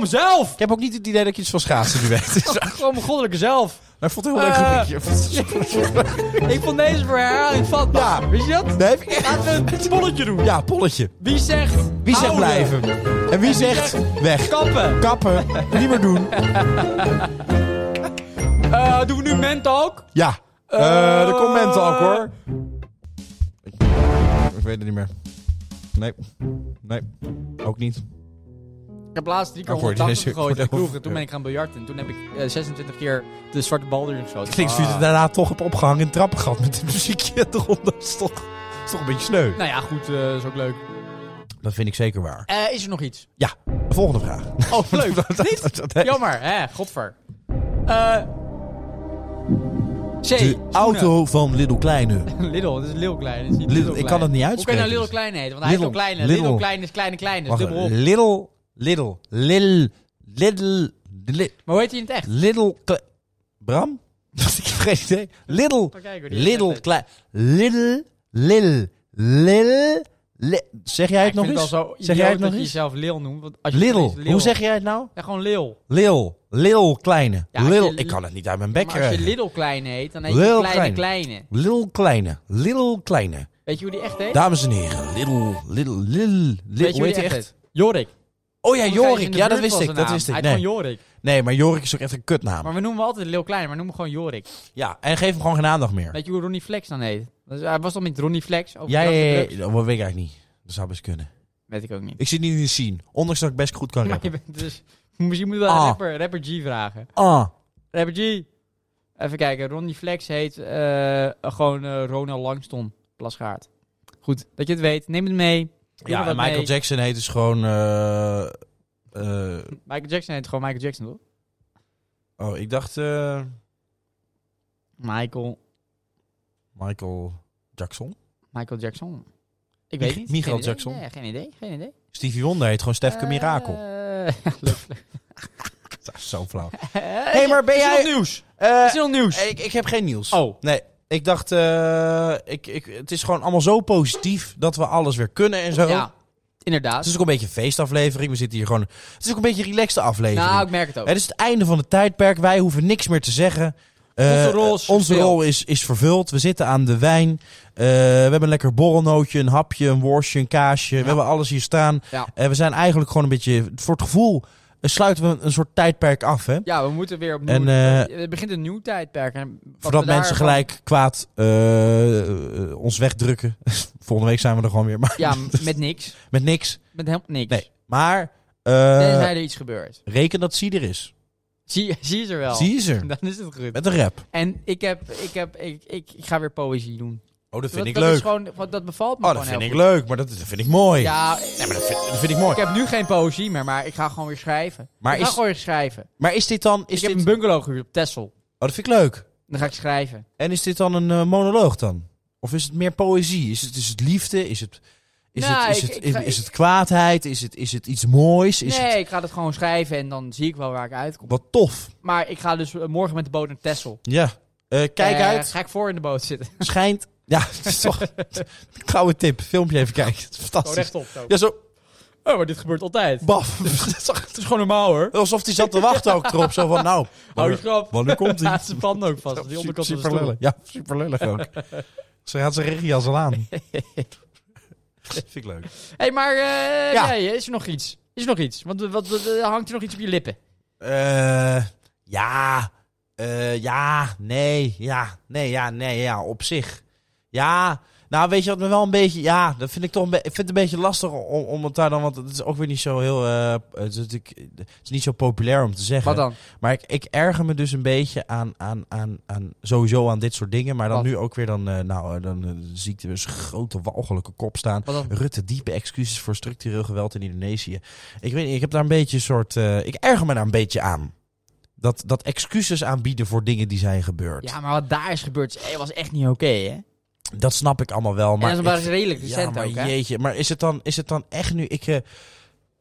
Speaker 2: mezelf.
Speaker 1: Ik heb ook niet het idee dat je iets van schaatsen nu weet.
Speaker 2: Gewoon mijn goddelijke zelf.
Speaker 1: Maar ik vond het een heel
Speaker 2: Eh.
Speaker 1: leuk rubriekje.
Speaker 2: Ik vond deze voor herhaling vatbaar.
Speaker 1: Ja.
Speaker 2: Wist je dat?
Speaker 1: Nee, even-
Speaker 2: Laten we een bolletje doen.
Speaker 1: Ja, polletje.
Speaker 2: Wie zegt...
Speaker 1: Wie zegt
Speaker 2: houden?
Speaker 1: blijven? En wie zegt
Speaker 2: zegt
Speaker 1: weg?
Speaker 2: Kappen.
Speaker 1: Kappen. Niet meer doen.
Speaker 2: Eh, doen we nu mentalk?
Speaker 1: Ja. Eh
Speaker 2: Eh,
Speaker 1: de commenten ook hoor. Ik weet het niet meer. Nee. Nee. Ook niet.
Speaker 2: Ik heb laatst drie keer
Speaker 1: Oh, voor die
Speaker 2: 180
Speaker 1: is-
Speaker 2: gegooid
Speaker 1: voor
Speaker 2: in
Speaker 1: de-
Speaker 2: kroegen. Toen ben ik gaan biljarten. Toen heb ik eh, 26 keer de zwarte bal erin geschoten.
Speaker 1: Klinkt alsof je
Speaker 2: Ah.
Speaker 1: het daarna toch hebt opgehangen in het trappengat met dit muziekje eronder. Dat is toch, dat is toch een beetje sneu.
Speaker 2: Nou ja, goed. eh, is ook leuk.
Speaker 1: Dat vind ik zeker waar.
Speaker 2: Eh, is er nog iets?
Speaker 1: Ja, volgende vraag.
Speaker 2: Oh, leuk. Niet?
Speaker 1: Nee.
Speaker 2: Jammer, hè? Godver. Eh C.
Speaker 1: De auto van Little Kleine.
Speaker 2: Lidl, dat is Lil Klein. dus Dat is niet
Speaker 1: Lidl,
Speaker 2: Lidl,
Speaker 1: ik
Speaker 2: Klein.
Speaker 1: kan het niet
Speaker 2: Hoe kan je
Speaker 1: uitspreken. dus.
Speaker 2: nou Lidl Klein heten? Want hij
Speaker 1: Lidl,
Speaker 2: is Lil Kleine.
Speaker 1: Lidl.
Speaker 2: Lidl Klein is kleine kleine. Dus
Speaker 1: Wacht
Speaker 2: dubbel op.
Speaker 1: even. eh, Little, Little, Little, Little, Little,
Speaker 2: Maar hoe heet hij in het echt?
Speaker 1: Little Kle- Bram? Dat ik heb geen idee. Little,
Speaker 2: Even kijken hoe die het
Speaker 1: Little
Speaker 2: echt
Speaker 1: Klein. Little, Little, Little, li- Zeg jij het
Speaker 2: Ik
Speaker 1: nog
Speaker 2: vind
Speaker 1: eens?
Speaker 2: het al zo
Speaker 1: Zeg jij het
Speaker 2: idioot
Speaker 1: nog
Speaker 2: dat je
Speaker 1: eens?
Speaker 2: jezelf Lil noemt. Want als je het leest,
Speaker 1: Little. Hoe zeg jij het nou?
Speaker 2: Ja, gewoon Lil.
Speaker 1: Lil, Lil Kleine.
Speaker 2: Ja, als
Speaker 1: Lil,
Speaker 2: je-
Speaker 1: ik kan het niet uit mijn bek
Speaker 2: Maar als je
Speaker 1: krijgen.
Speaker 2: Lidl Kleine heet, dan heet je
Speaker 1: Lil
Speaker 2: Kleine
Speaker 1: Kleine.
Speaker 2: Kleine.
Speaker 1: Lil Kleine, Lil Kleine.
Speaker 2: Weet je hoe die echt heet?
Speaker 1: Dames en heren, Little, Little, Little,
Speaker 2: Weet
Speaker 1: Little.
Speaker 2: je
Speaker 1: Hoe
Speaker 2: hoe
Speaker 1: heet hij
Speaker 2: die echt
Speaker 1: echt?
Speaker 2: heet? Jorik.
Speaker 1: Oh ja,
Speaker 2: Want hij is in
Speaker 1: Jorik.
Speaker 2: de
Speaker 1: Ja, dat
Speaker 2: buurt
Speaker 1: wist
Speaker 2: van
Speaker 1: ik.
Speaker 2: zijn
Speaker 1: Dat
Speaker 2: naam.
Speaker 1: wist
Speaker 2: Hij
Speaker 1: ik.
Speaker 2: heet
Speaker 1: Nee.
Speaker 2: gewoon Jorik.
Speaker 1: nee, maar Jorik is ook echt een kutnaam.
Speaker 2: Maar we noemen hem altijd Lil Kleine, maar noem hem gewoon Jorik.
Speaker 1: Ja, en geef hem gewoon geen aandacht meer.
Speaker 2: Weet je hoe Ronnie Flex dan heet? Dat is- Hij was toch met Ronnie Flex? Over
Speaker 1: Jij,
Speaker 2: drank en
Speaker 1: eh,
Speaker 2: drugs?
Speaker 1: dat weet ik eigenlijk niet. Dat zou best kunnen.
Speaker 2: Weet ik ook niet.
Speaker 1: Ik zit niet in de scene, ondanks dat ik best goed kan
Speaker 2: Maar je
Speaker 1: rappen.
Speaker 2: bent dus... Misschien moeten we aan
Speaker 1: Ah.
Speaker 2: rapper, rapper G vragen.
Speaker 1: Ah,
Speaker 2: Rapper G. Even kijken. Ronnie Flex heet eh, gewoon eh, Ronald Langston. Plasgaard. Goed, dat je het weet. Neem het mee. Doe
Speaker 1: ja,
Speaker 2: er
Speaker 1: en
Speaker 2: wat
Speaker 1: Michael
Speaker 2: mee.
Speaker 1: Jackson heet dus gewoon... eh, eh,
Speaker 2: Michael Jackson heet gewoon Michael Jackson, toch?
Speaker 1: oh, ik dacht eh,
Speaker 2: Michael...
Speaker 1: Michael Jackson.
Speaker 2: Michael Jackson. Ik
Speaker 1: Mich-
Speaker 2: weet niet.
Speaker 1: Michael
Speaker 2: Geen idee.
Speaker 1: Jackson.
Speaker 2: Nee, geen idee, geen idee.
Speaker 1: Stevie Wonder heet gewoon Stefke Mirakel.
Speaker 2: Eh, ja, leuk.
Speaker 1: Dat is Zo flauw.
Speaker 2: hey,
Speaker 1: maar ben
Speaker 2: is er
Speaker 1: jij-
Speaker 2: nog nieuws?
Speaker 1: Eh,
Speaker 2: Is er nog nieuws?
Speaker 1: ik, ik heb geen nieuws.
Speaker 2: Oh.
Speaker 1: Nee, ik dacht... eh, ik, ik, het is gewoon allemaal zo positief dat we alles weer kunnen en zo.
Speaker 2: Ja,
Speaker 1: Het
Speaker 2: inderdaad.
Speaker 1: is ook een beetje een feestaflevering. We zitten hier gewoon... Het is ook een beetje een relaxte aflevering.
Speaker 2: Nou, ik merk het ook.
Speaker 1: Het is het einde van het tijdperk. Wij hoeven niks meer te zeggen. Eh,
Speaker 2: Onze rol is
Speaker 1: onze
Speaker 2: vervuld.
Speaker 1: rol is, is vervuld. We zitten aan de wijn. Eh, we hebben een lekker borrelnootje, een hapje, een worstje, een kaasje. We hebben alles hier staan.
Speaker 2: Ja.
Speaker 1: Eh, we zijn eigenlijk gewoon een beetje voor het gevoel eh, sluiten we een soort tijdperk af, hè?
Speaker 2: Ja, we moeten weer opnieuw...
Speaker 1: En, eh,
Speaker 2: het begint een nieuw tijdperk. En wat
Speaker 1: Voordat
Speaker 2: we daar
Speaker 1: mensen
Speaker 2: van-
Speaker 1: gelijk kwaad eh, eh, ons wegdrukken. Volgende week zijn we er gewoon weer, maar
Speaker 2: Ja, m- met niks.
Speaker 1: met niks.
Speaker 2: Met helemaal niks.
Speaker 1: Nee, maar eh,
Speaker 2: Tenzij er iets gebeurt.
Speaker 1: reken dat Zie er is.
Speaker 2: Zie, zie je ze er wel.
Speaker 1: Zie is er.
Speaker 2: Dan is het goed.
Speaker 1: Met een rap.
Speaker 2: En ik, heb, ik, heb, ik, ik, ik ga weer poëzie doen.
Speaker 1: Oh, dat vind
Speaker 2: dat,
Speaker 1: ik
Speaker 2: dat
Speaker 1: leuk.
Speaker 2: Is gewoon, want dat bevalt me
Speaker 1: Oh, dat
Speaker 2: gewoon
Speaker 1: vind
Speaker 2: heel
Speaker 1: ik
Speaker 2: goed.
Speaker 1: leuk, maar dat, dat vind ik mooi.
Speaker 2: Ja,
Speaker 1: Nee, maar dat vind, dat vind ik mooi.
Speaker 2: ik heb nu geen poëzie meer, maar ik ga gewoon weer schrijven.
Speaker 1: Maar
Speaker 2: ik ga
Speaker 1: is-
Speaker 2: gewoon weer schrijven.
Speaker 1: Maar is dit dan...
Speaker 2: ik
Speaker 1: Is
Speaker 2: heb
Speaker 1: dit...
Speaker 2: een bungalow gehuurd op Texel.
Speaker 1: Oh, dat vind ik leuk.
Speaker 2: Dan ga ik schrijven.
Speaker 1: En is dit dan een eh, monoloog dan? Of is het meer poëzie? Is het, is het liefde? Is het, is
Speaker 2: Nou,
Speaker 1: het, is
Speaker 2: ik-
Speaker 1: het,
Speaker 2: ik
Speaker 1: is,
Speaker 2: ga-
Speaker 1: is het kwaadheid? Is het, is het iets moois? Is
Speaker 2: nee,
Speaker 1: het
Speaker 2: ik ga dat gewoon schrijven en dan zie ik wel waar ik uitkom.
Speaker 1: wat tof?
Speaker 2: Maar ik ga dus eh, morgen met de boot naar Texel.
Speaker 1: Ja. Eh, kijk
Speaker 2: Eh,
Speaker 1: uit.
Speaker 2: Ga ik voor in de boot zitten.
Speaker 1: Schijnt... Ja, het is toch... Gouden tip. Filmpje even kijken. Het is
Speaker 2: Zo
Speaker 1: fantastisch.
Speaker 2: Oh, rechtop. Zo.
Speaker 1: Ja, zo...
Speaker 2: Oh, maar dit gebeurt altijd.
Speaker 1: Baf. Dat is toch-
Speaker 2: Het is gewoon normaal hoor.
Speaker 1: Alsof hij zat te wachten ook erop. Zo van, nou...
Speaker 2: Hou je
Speaker 1: wanneer-
Speaker 2: grap.
Speaker 1: Wanneer komt hij?
Speaker 2: Laat zijn panden ook vast. Die onderkant van de
Speaker 1: super
Speaker 2: stoel.
Speaker 1: lullig. Ja, super lullig ook. Ze gaat zijn regenjas al aan. Vind ik leuk.
Speaker 2: hey, maar eh,
Speaker 1: Ja.
Speaker 2: nee, is er nog iets? Is er nog iets? Want eh, wat, wat, eh, hangt er nog iets op je lippen?
Speaker 1: Eh, ja, eh, ja, nee, ja, nee, ja, nee, ja, op zich. Ja, nou weet je wat me wel een beetje, ja, dat vind ik toch een, be- ik vind het een beetje lastig om, om het daar dan, want het is ook weer niet zo heel, eh, het, is natuurlijk- het is niet zo populair om te zeggen.
Speaker 2: Wat dan?
Speaker 1: Maar ik, ik erger me dus een beetje aan, aan, aan, aan sowieso aan dit soort dingen. Maar dan
Speaker 2: Wat?
Speaker 1: nu ook weer dan, eh, nou, eh, dan eh, zie ik er dus grote walgelijke kop staan.
Speaker 2: Wat dan?
Speaker 1: Rutte, diepe excuses voor structureel geweld in Indonesië. Ik weet niet, ik heb daar een beetje een soort, eh, ik erger me daar een beetje aan. Dat, dat excuses aanbieden voor dingen die zijn gebeurd.
Speaker 2: Ja, maar wat daar is gebeurd is- eh, was echt niet oké, hè?
Speaker 1: Dat snap ik allemaal wel. Maar
Speaker 2: en dat was
Speaker 1: ik-
Speaker 2: redelijk recent
Speaker 1: maar
Speaker 2: ook, hè?
Speaker 1: jeetje, maar is het dan, is het dan echt nu... Ik, eh,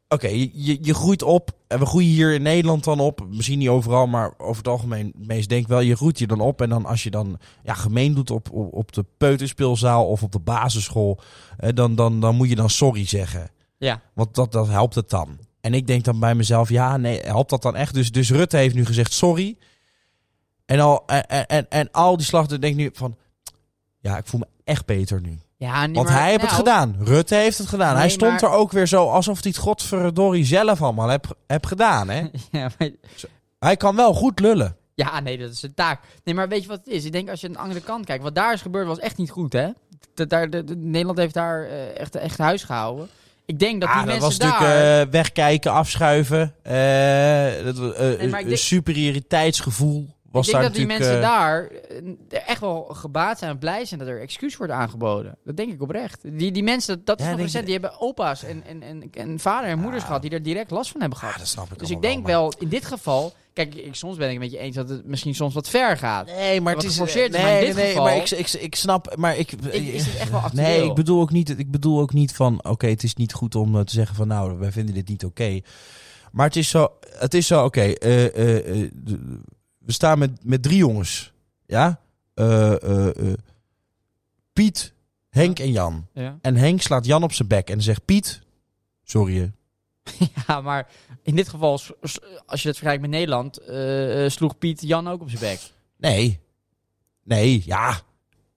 Speaker 1: Oké, je, je groeit op. En we groeien hier in Nederland dan op. Misschien niet overal, maar over het algemeen. Meest denk wel, je groeit hier dan op. En dan als je dan ja, gemeen doet op, op, op de peuterspeelzaal of op de basisschool... eh, dan, dan, dan moet je dan sorry zeggen.
Speaker 2: Ja.
Speaker 1: Want dat, dat helpt het dan. En ik denk dan bij mezelf, ja, nee, helpt dat dan echt? Dus, dus Rutte heeft nu gezegd sorry. En al, en, en- en, en al die slachten denk ik nu van... Ja, ik voel me echt beter nu.
Speaker 2: ja nee,
Speaker 1: Want
Speaker 2: maar-
Speaker 1: hij heeft het
Speaker 2: nou,
Speaker 1: gedaan. Rutte heeft het gedaan. hij
Speaker 2: Nee,
Speaker 1: stond
Speaker 2: maar-
Speaker 1: er ook weer zo alsof hij het godverdorie zelf allemaal heb, heb gedaan. Hè?
Speaker 2: Ja, maar-
Speaker 1: hij kan wel goed lullen.
Speaker 2: ja, nee, dat is zijn taak. Nee, maar weet je wat het is? Ik denk als je aan de andere kant kijkt, wat daar is gebeurd was echt niet goed, hè? Dat daar, de- de- Nederland heeft daar eh, echt, echt huis gehouden. Ik denk dat
Speaker 1: Ah,
Speaker 2: die
Speaker 1: dat
Speaker 2: mensen
Speaker 1: was
Speaker 2: daar...
Speaker 1: natuurlijk eh, wegkijken, afschuiven. eh, dat, was, eh,
Speaker 2: Nee, maar ik
Speaker 1: een
Speaker 2: denk-
Speaker 1: superioriteitsgevoel was
Speaker 2: ik denk
Speaker 1: daar
Speaker 2: dat die
Speaker 1: natuurlijk...
Speaker 2: mensen
Speaker 1: eh,
Speaker 2: daar eh, echt wel gebaat zijn en blij zijn dat er excuus wordt aangeboden. Dat denk ik oprecht. Die, die mensen, dat, dat
Speaker 1: Ja,
Speaker 2: is nog
Speaker 1: denk je
Speaker 2: recent, die hebben opa's en, en, en, en vader en moeders gehad die er direct last van hebben gehad.
Speaker 1: ah, dat snap ik
Speaker 2: dus ik
Speaker 1: allemaal
Speaker 2: denk
Speaker 1: maar-
Speaker 2: wel, in dit geval, kijk, ik, soms ben ik met je eens dat het misschien soms wat ver gaat.
Speaker 1: Nee, maar
Speaker 2: wat
Speaker 1: het is...
Speaker 2: geforceerd is,
Speaker 1: nee,
Speaker 2: maar in
Speaker 1: nee,
Speaker 2: dit
Speaker 1: nee,
Speaker 2: geval-
Speaker 1: maar ik, ik, ik snap... Maar ik, eh,
Speaker 2: Ik- is het echt wel actueel?
Speaker 1: Nee, ik bedoel ook niet, ik bedoel ook niet van... Oké, het is niet goed om eh, te zeggen van... Nou, wij vinden dit niet oké. Maar het is zo... Het is zo, oké. eh, eh, eh, de- we staan met, met drie jongens. Ja? Eh, eh, eh, Piet, Henk en Jan.
Speaker 2: Ja.
Speaker 1: En Henk slaat Jan op zijn bek en zegt... Piet, sorry eh." hè.
Speaker 2: maar in dit geval, s- s- als je dat vergelijkt met Nederland, eh, eh, sloeg Piet Jan ook op zijn bek.
Speaker 1: Nee. Nee, ja.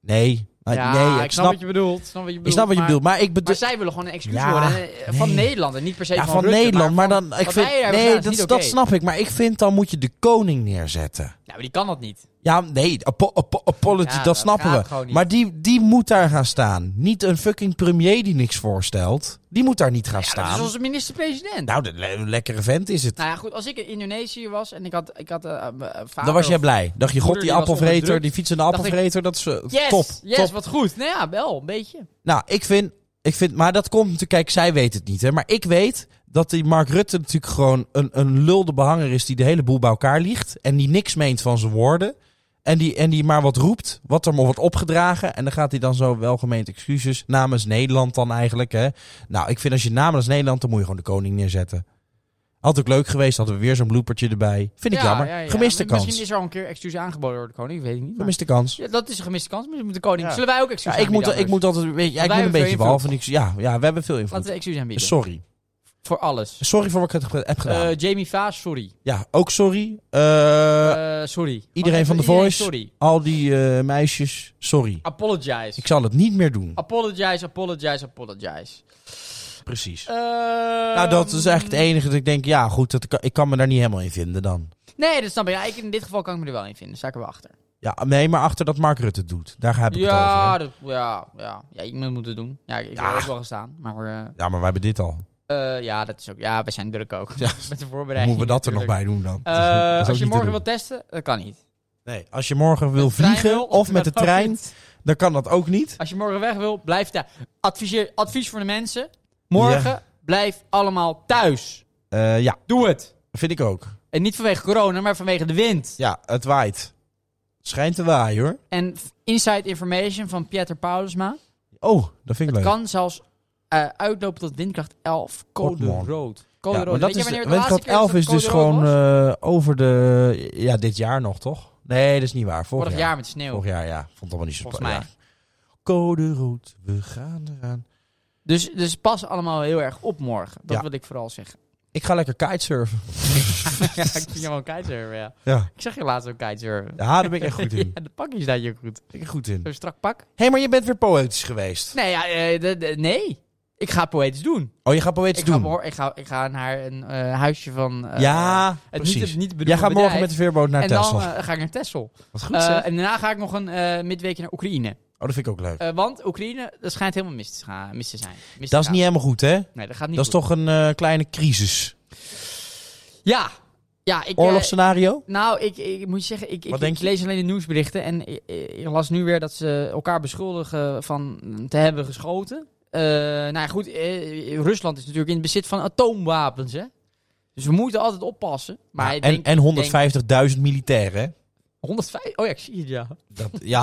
Speaker 1: Nee. Maar
Speaker 2: ja,
Speaker 1: nee,
Speaker 2: ik, snap wat je bedoelt. Snap wat je
Speaker 1: Ik
Speaker 2: bedoelt
Speaker 1: snap wat je
Speaker 2: maar-
Speaker 1: bedoelt, maar ik bedoel...
Speaker 2: Maar Dus zij willen gewoon een excuus
Speaker 1: Ja,
Speaker 2: worden eh, van
Speaker 1: nee.
Speaker 2: Nederland en niet per se
Speaker 1: Ja,
Speaker 2: van,
Speaker 1: van
Speaker 2: Rutte,
Speaker 1: Nederland, maar,
Speaker 2: van-
Speaker 1: dan... Ik
Speaker 2: wat
Speaker 1: vind,
Speaker 2: wij daar
Speaker 1: nee,
Speaker 2: gedaan is
Speaker 1: dat,
Speaker 2: niet
Speaker 1: dat
Speaker 2: oké.
Speaker 1: snap ik, maar ik vind dan moet je de koning neerzetten.
Speaker 2: Nou, maar die kan dat niet.
Speaker 1: Ja, nee, apo- apo- apology,
Speaker 2: Ja,
Speaker 1: dat,
Speaker 2: dat
Speaker 1: snappen
Speaker 2: gaat
Speaker 1: we.
Speaker 2: gewoon niet.
Speaker 1: Maar die, die moet daar gaan staan. Niet een fucking premier die niks voorstelt. Die moet daar niet gaan
Speaker 2: Ja, dat
Speaker 1: staan.
Speaker 2: is onze minister-president.
Speaker 1: Nou, de le- een lekkere vent is het.
Speaker 2: nou ja, goed, als ik in Indonesië was en ik had, ik had eh, eh, vader...
Speaker 1: dan was jij
Speaker 2: of-
Speaker 1: blij. Dacht je, god,
Speaker 2: moeder
Speaker 1: die
Speaker 2: die was
Speaker 1: appelvreter,
Speaker 2: onderdrukt.
Speaker 1: die fietsende
Speaker 2: Dacht ik,
Speaker 1: appelvreter, dat is eh,
Speaker 2: Yes,
Speaker 1: top.
Speaker 2: yes,
Speaker 1: top.
Speaker 2: wat goed. Nou ja, wel, een beetje.
Speaker 1: Nou, ik vind, ik vind, maar dat komt natuurlijk, kijk, zij weet het niet, hè. Maar ik weet dat die Mark Rutte natuurlijk gewoon een, een lulde behanger is die de hele boel bij elkaar liegt. En die niks meent van zijn woorden. En die, en die maar wat roept, wat er maar wordt opgedragen. En dan gaat hij dan zo welgemeend excuses namens Nederland dan eigenlijk, hè. Nou, ik vind als je namens Nederland, dan moet je gewoon de koning neerzetten. Had ook leuk geweest, hadden we weer zo'n bloopertje erbij. Vind ik
Speaker 2: Ja,
Speaker 1: jammer.
Speaker 2: ja, ja.
Speaker 1: Gemiste
Speaker 2: Misschien
Speaker 1: kans.
Speaker 2: is er al een keer excuus aangeboden door de koning, weet ik niet. maar-
Speaker 1: Gemiste kans.
Speaker 2: Ja, dat is een gemiste kans, maar ze moeten de koning...
Speaker 1: Ja.
Speaker 2: Zullen wij ook excuus
Speaker 1: Ja, ik moet,
Speaker 2: aanbieden
Speaker 1: ik
Speaker 2: anders?
Speaker 1: moet altijd, weet je, ja, ik
Speaker 2: wij
Speaker 1: moet een
Speaker 2: hebben
Speaker 1: beetje
Speaker 2: veel
Speaker 1: behalve niks. Ja, ja, we hebben veel
Speaker 2: Laten
Speaker 1: invloed.
Speaker 2: we excuus aanbieden.
Speaker 1: Sorry.
Speaker 2: Voor alles.
Speaker 1: Sorry voor wat ik heb- heb gedaan.
Speaker 2: Eh, Jamie Vaas, sorry.
Speaker 1: ja, ook sorry. Eh,
Speaker 2: Eh, sorry.
Speaker 1: iedereen
Speaker 2: Gewoon
Speaker 1: van de
Speaker 2: even
Speaker 1: Voice.
Speaker 2: Sorry.
Speaker 1: al die eh, meisjes, sorry.
Speaker 2: Apologize. Ah,
Speaker 1: Ik zal het niet meer doen.
Speaker 2: Apologize, apologize, apologize.
Speaker 1: precies.
Speaker 2: Eh,
Speaker 1: nou, dat is eigenlijk het enige dat ik denk, ja goed, dat, kan- ik kan me daar niet helemaal in vinden dan.
Speaker 2: Nee, dat snap ik. Ja, ik. In dit geval kan ik me er wel in vinden. Sta ik er wel achter.
Speaker 1: Ja, nee, maar achter dat Mark Rutte het doet. Daar heb ik het over.
Speaker 2: Ja,
Speaker 1: hè.
Speaker 2: dat, ja, ja. ja, iemand moet het doen. Ja, ik ik wil
Speaker 1: Ja.
Speaker 2: ook wel gaan staan. Maar eh,
Speaker 1: Ja, maar wij hebben dit al.
Speaker 2: eh, ja, dat is ook. Ja, we zijn druk ook. Met de voorbereiding.
Speaker 1: Moeten we dat er nog bij doen dan? Dat is-
Speaker 2: Eh,
Speaker 1: dat is ook
Speaker 2: als je
Speaker 1: niet te
Speaker 2: morgen
Speaker 1: doen.
Speaker 2: wilt testen, dat kan niet.
Speaker 1: Nee, als je morgen wil
Speaker 2: Trein wil,
Speaker 1: vliegen of met de
Speaker 2: dat kan
Speaker 1: trein,
Speaker 2: niet.
Speaker 1: dan kan dat ook niet.
Speaker 2: Als je morgen weg wil, blijf daar. Adviseer, advies voor de mensen. Morgen blijf allemaal thuis.
Speaker 1: Eh, ja,
Speaker 2: Doe het.
Speaker 1: vind ik ook.
Speaker 2: En niet vanwege corona, maar vanwege de wind.
Speaker 1: Ja, het waait. Het Schijnt te waaien hoor.
Speaker 2: En f- inside information van Pieter Paulusma.
Speaker 1: Oh, dat vind ik
Speaker 2: Het
Speaker 1: leuk.
Speaker 2: kan zelfs eh, uitlopen tot windkracht 11, code
Speaker 1: Godman.
Speaker 2: rood. Code
Speaker 1: Ja,
Speaker 2: rood.
Speaker 1: maar dat
Speaker 2: Weet
Speaker 1: is,
Speaker 2: je wanneer het de laatste
Speaker 1: windkracht
Speaker 2: keer was
Speaker 1: 11
Speaker 2: dat
Speaker 1: is
Speaker 2: code
Speaker 1: dus
Speaker 2: rood
Speaker 1: gewoon
Speaker 2: was?
Speaker 1: eh, over de... Ja, dit jaar nog toch? Nee, dat is niet waar. Vorig,
Speaker 2: Vorig jaar met sneeuw.
Speaker 1: Vorig jaar, ja. Vond het allemaal niet zo
Speaker 2: Volgens
Speaker 1: ja.
Speaker 2: mij.
Speaker 1: Code rood, we gaan eraan.
Speaker 2: Dus, dus pas allemaal heel erg op morgen. Dat
Speaker 1: Ja.
Speaker 2: wil ik vooral zeggen.
Speaker 1: Ik ga lekker kitesurfen.
Speaker 2: ja, ik vind jou wel kitesurfen, ja.
Speaker 1: Ja,
Speaker 2: Ik zeg je laatst ook kitesurfen.
Speaker 1: ja daar ben ik echt goed in.
Speaker 2: Ja, de pakje staat je goed.
Speaker 1: Ben ik goed in.
Speaker 2: Zo'n strak pak.
Speaker 1: Hé, hey, maar je bent weer poëtisch geweest.
Speaker 2: Nee, ja, eh, de- de- nee. Ik ga poëtisch doen.
Speaker 1: Oh, je gaat poëtisch
Speaker 2: Ik
Speaker 1: doen?
Speaker 2: ga, behoor- ik, ga, ik ga naar een eh, huisje van... eh,
Speaker 1: ja,
Speaker 2: het niet-
Speaker 1: precies.
Speaker 2: het niet bedoelde
Speaker 1: Jij gaat morgen
Speaker 2: bedrijf.
Speaker 1: met de veerboot naar
Speaker 2: En dan
Speaker 1: Texel.
Speaker 2: eh, ga ik naar Texel.
Speaker 1: Wat goed
Speaker 2: Eh,
Speaker 1: zeg.
Speaker 2: en daarna ga ik nog een eh, midweekje naar Oekraïne.
Speaker 1: Oh, dat vind ik ook leuk.
Speaker 2: Eh, want Oekraïne, dat schijnt helemaal mis te, gaan, mis te zijn. Mis te
Speaker 1: dat is
Speaker 2: gaan.
Speaker 1: niet helemaal goed, hè?
Speaker 2: Nee, dat gaat niet
Speaker 1: dat is
Speaker 2: goed.
Speaker 1: toch een eh, kleine crisis.
Speaker 2: Ja. Ja, ik... eh,
Speaker 1: Oorlogsscenario?
Speaker 2: nou, ik, ik moet je zeggen, ik, ik,
Speaker 1: Wat denk
Speaker 2: ik
Speaker 1: je?
Speaker 2: lees alleen de nieuwsberichten. En ik, ik las nu weer dat ze elkaar beschuldigen van te hebben geschoten. Eh, nou ja, goed, eh, Rusland is natuurlijk in het bezit van atoomwapens, hè. Dus we moeten altijd oppassen. Maar
Speaker 1: Ja,
Speaker 2: ik
Speaker 1: en
Speaker 2: denk-
Speaker 1: en
Speaker 2: ik
Speaker 1: 150.000 militairen, hè?
Speaker 2: denk 105? Oh ja, ik zie het, ja.
Speaker 1: Dat, ja,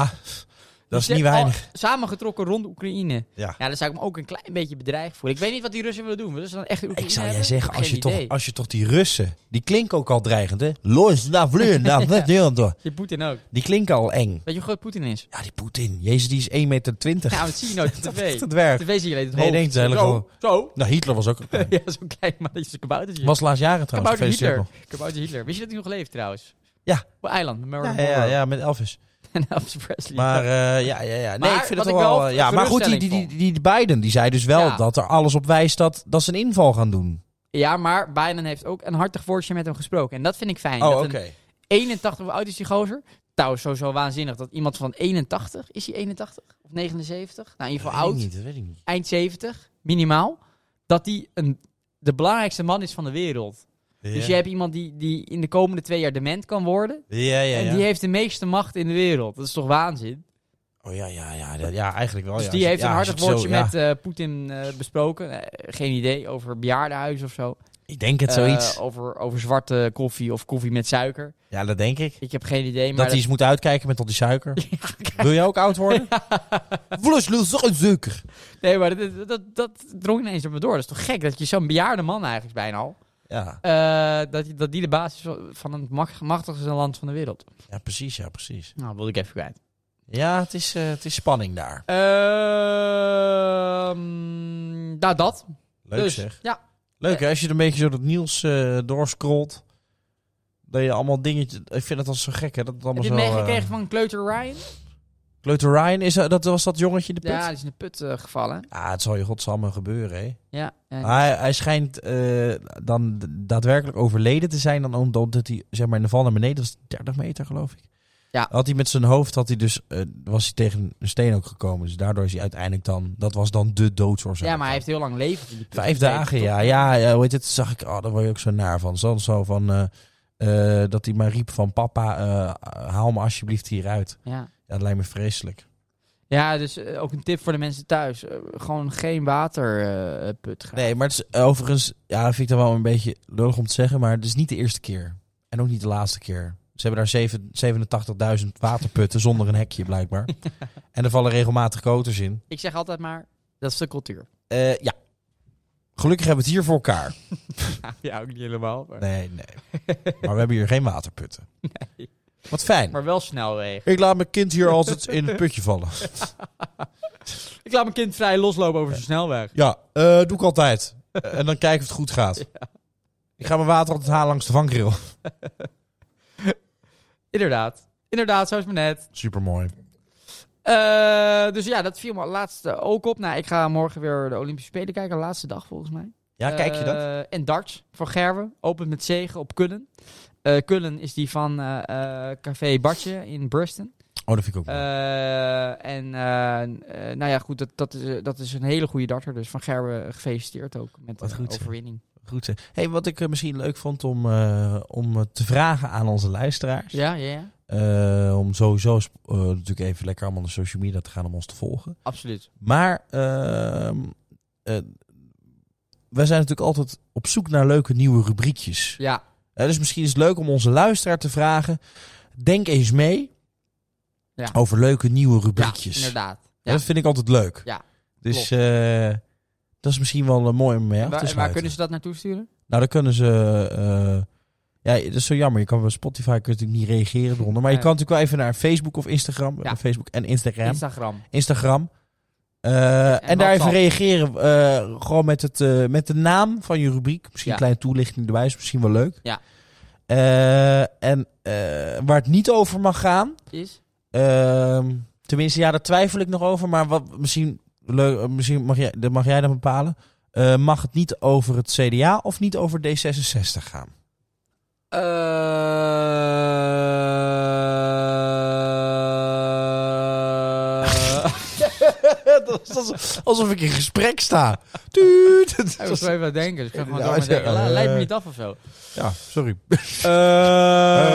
Speaker 1: dat is
Speaker 2: Dus
Speaker 1: niet
Speaker 2: al
Speaker 1: weinig.
Speaker 2: Samengetrokken rond Oekraïne.
Speaker 1: Ja.
Speaker 2: Ja, daar zou ik me ook een klein beetje bedreigd voelen. Ik weet niet wat die Russen willen doen. Willen ze dan echt Oekraïne
Speaker 1: Ik zou jij
Speaker 2: hebben?
Speaker 1: zeggen, als je,
Speaker 2: Geen
Speaker 1: toch,
Speaker 2: idee.
Speaker 1: als je toch die Russen... Die klinken ook al dreigend, hè? Los, nou, na vleur, na vleur, deur, door.
Speaker 2: Je Poetin ook.
Speaker 1: Die klinken al eng.
Speaker 2: Weet je hoe groot Poetin is?
Speaker 1: Ja, die Poetin. Jezus, die is 1,20 meter.
Speaker 2: Nou, dat zie je nooit op
Speaker 1: Dat is
Speaker 2: tv.
Speaker 1: echt een dwerg.
Speaker 2: tv zie je alleen het
Speaker 1: Nee,
Speaker 2: hoofd.
Speaker 1: ik denk het is
Speaker 2: zo,
Speaker 1: eigenlijk
Speaker 2: zo.
Speaker 1: Nou, Hitler was ook...
Speaker 2: ja, zo'n klein mannetje, zo'n kaboutertje.
Speaker 1: Was laatst jaren trouwens.
Speaker 2: kabouter
Speaker 1: Gefeliciteerd
Speaker 2: Hitler.
Speaker 1: nog.
Speaker 2: Kabouter Hitler. Wist je dat hij nog leeft trouwens?
Speaker 1: Ja.
Speaker 2: Op een eiland, met Marilyn
Speaker 1: Ja,
Speaker 2: Monroe.
Speaker 1: ja, ja, met Elvis.
Speaker 2: En Elvis Presley.
Speaker 1: Maar eh, ja, ja, ja. Nee,
Speaker 2: Maar
Speaker 1: ik vind het
Speaker 2: wat
Speaker 1: toch
Speaker 2: ik wel
Speaker 1: wel. eh, ja, maar goed, die, die, die, die Biden die zei dus wel
Speaker 2: Ja.
Speaker 1: dat er alles op wijst dat, dat ze een inval gaan doen.
Speaker 2: Ja, maar Biden heeft ook een hartig woordje met hem gesproken. En dat vind ik fijn.
Speaker 1: oh,
Speaker 2: dat
Speaker 1: oké.
Speaker 2: een 81, hoe oud is die gozer? Trouwens, sowieso waanzinnig dat iemand van 81, is hij 81 of 79? Nou, in ieder geval
Speaker 1: Dat weet ik niet,
Speaker 2: oud,
Speaker 1: dat weet ik niet.
Speaker 2: eind 70, minimaal. Dat hij een, de belangrijkste man is van de wereld. Dus je hebt iemand die, die in de komende twee jaar dement kan worden.
Speaker 1: Ja, ja,
Speaker 2: En
Speaker 1: ja.
Speaker 2: die heeft de meeste macht in de wereld. Dat is toch waanzin?
Speaker 1: Oh ja, ja, ja, ja, ja, eigenlijk wel.
Speaker 2: dus
Speaker 1: Oh ja.
Speaker 2: die
Speaker 1: Als je-
Speaker 2: heeft
Speaker 1: ja,
Speaker 2: een
Speaker 1: als
Speaker 2: hartig
Speaker 1: je het
Speaker 2: woordje
Speaker 1: zo- ja.
Speaker 2: met eh, Poetin eh, besproken. Eh, geen idee, over bejaardenhuis of zo.
Speaker 1: Ik denk het
Speaker 2: Eh,
Speaker 1: zoiets.
Speaker 2: over, over zwarte koffie of koffie met suiker.
Speaker 1: ja, dat denk ik.
Speaker 2: Ik heb geen idee, maar...
Speaker 1: Dat hij eens moet uitkijken met al die suiker. Wil jij ook oud worden? Vlus, lul, zo- suiker.
Speaker 2: Nee, maar dat, dat, dat drong ineens op me door. Dat is toch gek dat je zo'n bejaarde man eigenlijk bijna al...
Speaker 1: Ja,
Speaker 2: eh, dat, je- dat die de basis van het mag- machtigste land van de wereld.
Speaker 1: ja, precies, ja, precies.
Speaker 2: Nou, wilde ik even kwijt.
Speaker 1: Ja, het is, eh, het is spanning daar.
Speaker 2: Ehm nou, dat.
Speaker 1: Leuk
Speaker 2: dus,
Speaker 1: zeg.
Speaker 2: Ja,
Speaker 1: Leuk hè, als je er een beetje zo dat nieuws eh, doorscrollt. Dat je allemaal dingetjes... Ik vind het al zo gek hè, dat het
Speaker 2: Heb
Speaker 1: allemaal
Speaker 2: je
Speaker 1: zo...
Speaker 2: het
Speaker 1: eh,
Speaker 2: meegekregen van Kleuter Ryan?
Speaker 1: Kleuter Ryan, is dat, dat was dat jongetje in de put?
Speaker 2: Ja,
Speaker 1: Ja,
Speaker 2: die is in de put eh, gevallen.
Speaker 1: het zal je godsamme gebeuren hè.
Speaker 2: Ja. en-
Speaker 1: Hij, hij schijnt eh, dan d- daadwerkelijk overleden te zijn dan omdat hij zeg maar in de val naar beneden was 30 meter geloof ik.
Speaker 2: Ja.
Speaker 1: Had hij met zijn hoofd had hij dus eh, was hij tegen een steen ook gekomen, dus daardoor is hij uiteindelijk dan dat was dan de doodsoorzaak.
Speaker 2: ja, maar hij
Speaker 1: dan.
Speaker 2: heeft heel lang leven. in die put
Speaker 1: Vijf
Speaker 2: gezeten,
Speaker 1: dagen,
Speaker 2: toch?
Speaker 1: ja. Ja, ja, hoe heet het? Zag ik, oh, daar word je ook zo naar van. Zo, zo van eh, eh, dat hij maar riep van papa, eh, haal me alsjeblieft hieruit.
Speaker 2: Ja.
Speaker 1: Ja, dat lijkt me vreselijk.
Speaker 2: Ja, dus eh, ook een tip voor de mensen thuis. Eh, gewoon geen waterput gaan.
Speaker 1: Nee, maar het is eh, overigens, ja, dat vind ik dan wel een beetje lullig om te zeggen, maar het is niet de eerste keer. En ook niet de laatste keer. Ze hebben daar zeven- 87.000 waterputten zonder een hekje blijkbaar. En er vallen regelmatig koters in.
Speaker 2: Ik zeg altijd maar, dat is de cultuur.
Speaker 1: Eh, ja. Gelukkig hebben we het hier voor elkaar.
Speaker 2: ja, ook niet helemaal. Maar,
Speaker 1: Nee, nee. Maar we hebben hier geen waterputten. Wat fijn.
Speaker 2: maar wel snelwegen.
Speaker 1: Ik laat mijn kind hier altijd in het putje vallen.
Speaker 2: Ik laat mijn kind vrij loslopen over zijn snelweg.
Speaker 1: Ja, eh, doe ik altijd. Eh, en dan kijken of het goed gaat. Ik ga mijn water altijd halen langs de vangrail.
Speaker 2: Inderdaad. Inderdaad, zo is het maar net.
Speaker 1: Supermooi.
Speaker 2: Eh, dus ja, dat viel me laatst eh, ook op. Nou, ik ga morgen weer de Olympische Spelen kijken. De laatste dag volgens mij.
Speaker 1: Ja, kijk je dat?
Speaker 2: Eh, en darts voor Gerwe. Opent met zegen op Kullen. Eh Kullen is die van eh, eh, Café Bartje in Bruston.
Speaker 1: Oh, dat vind ik ook mooi.
Speaker 2: Eh, en eh, eh, nou ja, goed, dat, dat, is, eh, dat is een hele goede darter. Dus van Gerwe gefeliciteerd ook met
Speaker 1: Wat
Speaker 2: de
Speaker 1: goed, zeg.
Speaker 2: overwinning.
Speaker 1: Goed. hè. Hey, wat ik eh, misschien leuk vond om, eh, om eh, te vragen aan onze luisteraars.
Speaker 2: Ja, ja, ja.
Speaker 1: Eh, om sowieso sp- eh, natuurlijk even lekker allemaal naar social media te gaan om ons te volgen.
Speaker 2: Absoluut.
Speaker 1: Maar ehm, eh, wij zijn natuurlijk altijd op zoek naar leuke nieuwe rubriekjes.
Speaker 2: Ja,
Speaker 1: Eh, dus misschien is het leuk om onze luisteraar te vragen. Denk eens mee
Speaker 2: Ja.
Speaker 1: over leuke nieuwe
Speaker 2: ja
Speaker 1: rubriekjes.
Speaker 2: inderdaad.
Speaker 1: Ja, Dat vind ik altijd leuk.
Speaker 2: Ja,
Speaker 1: Dus eh, dat is misschien wel een mooi om mee af
Speaker 2: En
Speaker 1: te
Speaker 2: waar, en waar
Speaker 1: sluiten.
Speaker 2: kunnen ze dat naartoe sturen?
Speaker 1: Nou, dan kunnen ze... eh, ja, dat is zo jammer. Je kan bij Spotify kun je natuurlijk niet reageren eronder. Maar je
Speaker 2: Nee.
Speaker 1: kan natuurlijk wel even naar Facebook of Instagram.
Speaker 2: Ja.
Speaker 1: Facebook en Instagram.
Speaker 2: Instagram.
Speaker 1: Instagram. Eh, en, daar even
Speaker 2: WhatsApp.
Speaker 1: reageren. eh, gewoon met, het, eh, met de naam van je rubriek. Misschien
Speaker 2: Ja.
Speaker 1: een kleine toelichting erbij. Is misschien wel leuk.
Speaker 2: Ja.
Speaker 1: Eh, en eh, waar het niet over mag gaan.
Speaker 2: Is?
Speaker 1: ehm, tenminste, ja, daar twijfel ik nog over. Maar wat, misschien, leuk, eh, misschien mag, jij, dat mag jij dan bepalen. Eh, mag het niet over het CDA of niet over D66 gaan?
Speaker 3: Eh,
Speaker 1: dat is alsof, alsof ik in gesprek sta. Tuut. Dat
Speaker 2: Ik
Speaker 1: is-
Speaker 2: was even aan het denken, dus ik ga gewoon
Speaker 1: Ja,
Speaker 2: door met
Speaker 1: ja,
Speaker 2: denken. La- Leid me
Speaker 1: eh.
Speaker 2: niet af of zo.
Speaker 1: Ja, sorry. Eh,
Speaker 2: Eh,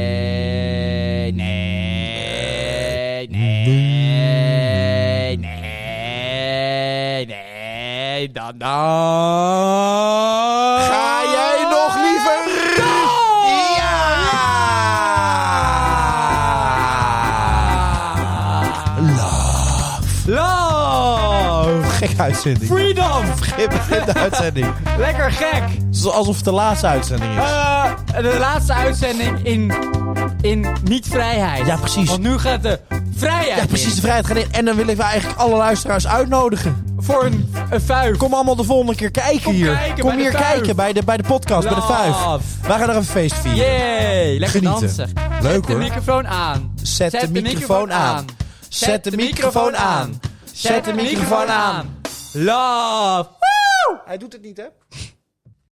Speaker 2: Nee. Nee. Nee. Nee. Nee. Nee. Dan dan.
Speaker 1: Ga jij nog liever?
Speaker 2: Ja!
Speaker 1: Love. Love. Gek uitzending.
Speaker 2: Freedom!
Speaker 1: Begin begin de uitzending.
Speaker 2: Lekker gek!
Speaker 1: Het is Alsof het de laatste uitzending is.
Speaker 2: Eh, de laatste uitzending in, in niet-vrijheid.
Speaker 1: Ja, precies.
Speaker 2: Want nu gaat de vrijheid
Speaker 1: Ja, precies de vrijheid gaan in. En dan willen we eigenlijk alle luisteraars uitnodigen.
Speaker 2: in voor een, een vuif.
Speaker 1: Kom allemaal de volgende keer kijken
Speaker 2: Kom
Speaker 1: hier.
Speaker 2: kijken
Speaker 1: Kom
Speaker 2: bij de
Speaker 1: hier
Speaker 2: Vuif.
Speaker 1: kijken bij de, bij de podcast, bij de Vuif.
Speaker 2: Love.
Speaker 1: Wij gaan er een feest vieren.
Speaker 2: Yay, lekker
Speaker 1: Genieten.
Speaker 2: dansig.
Speaker 1: Leuk,
Speaker 2: Zet de
Speaker 1: hoor.
Speaker 2: microfoon aan.
Speaker 1: Zet, de microfoon aan. Zet de microfoon aan. Zet de microfoon aan.
Speaker 2: Love.
Speaker 1: Hij doet het niet, hè?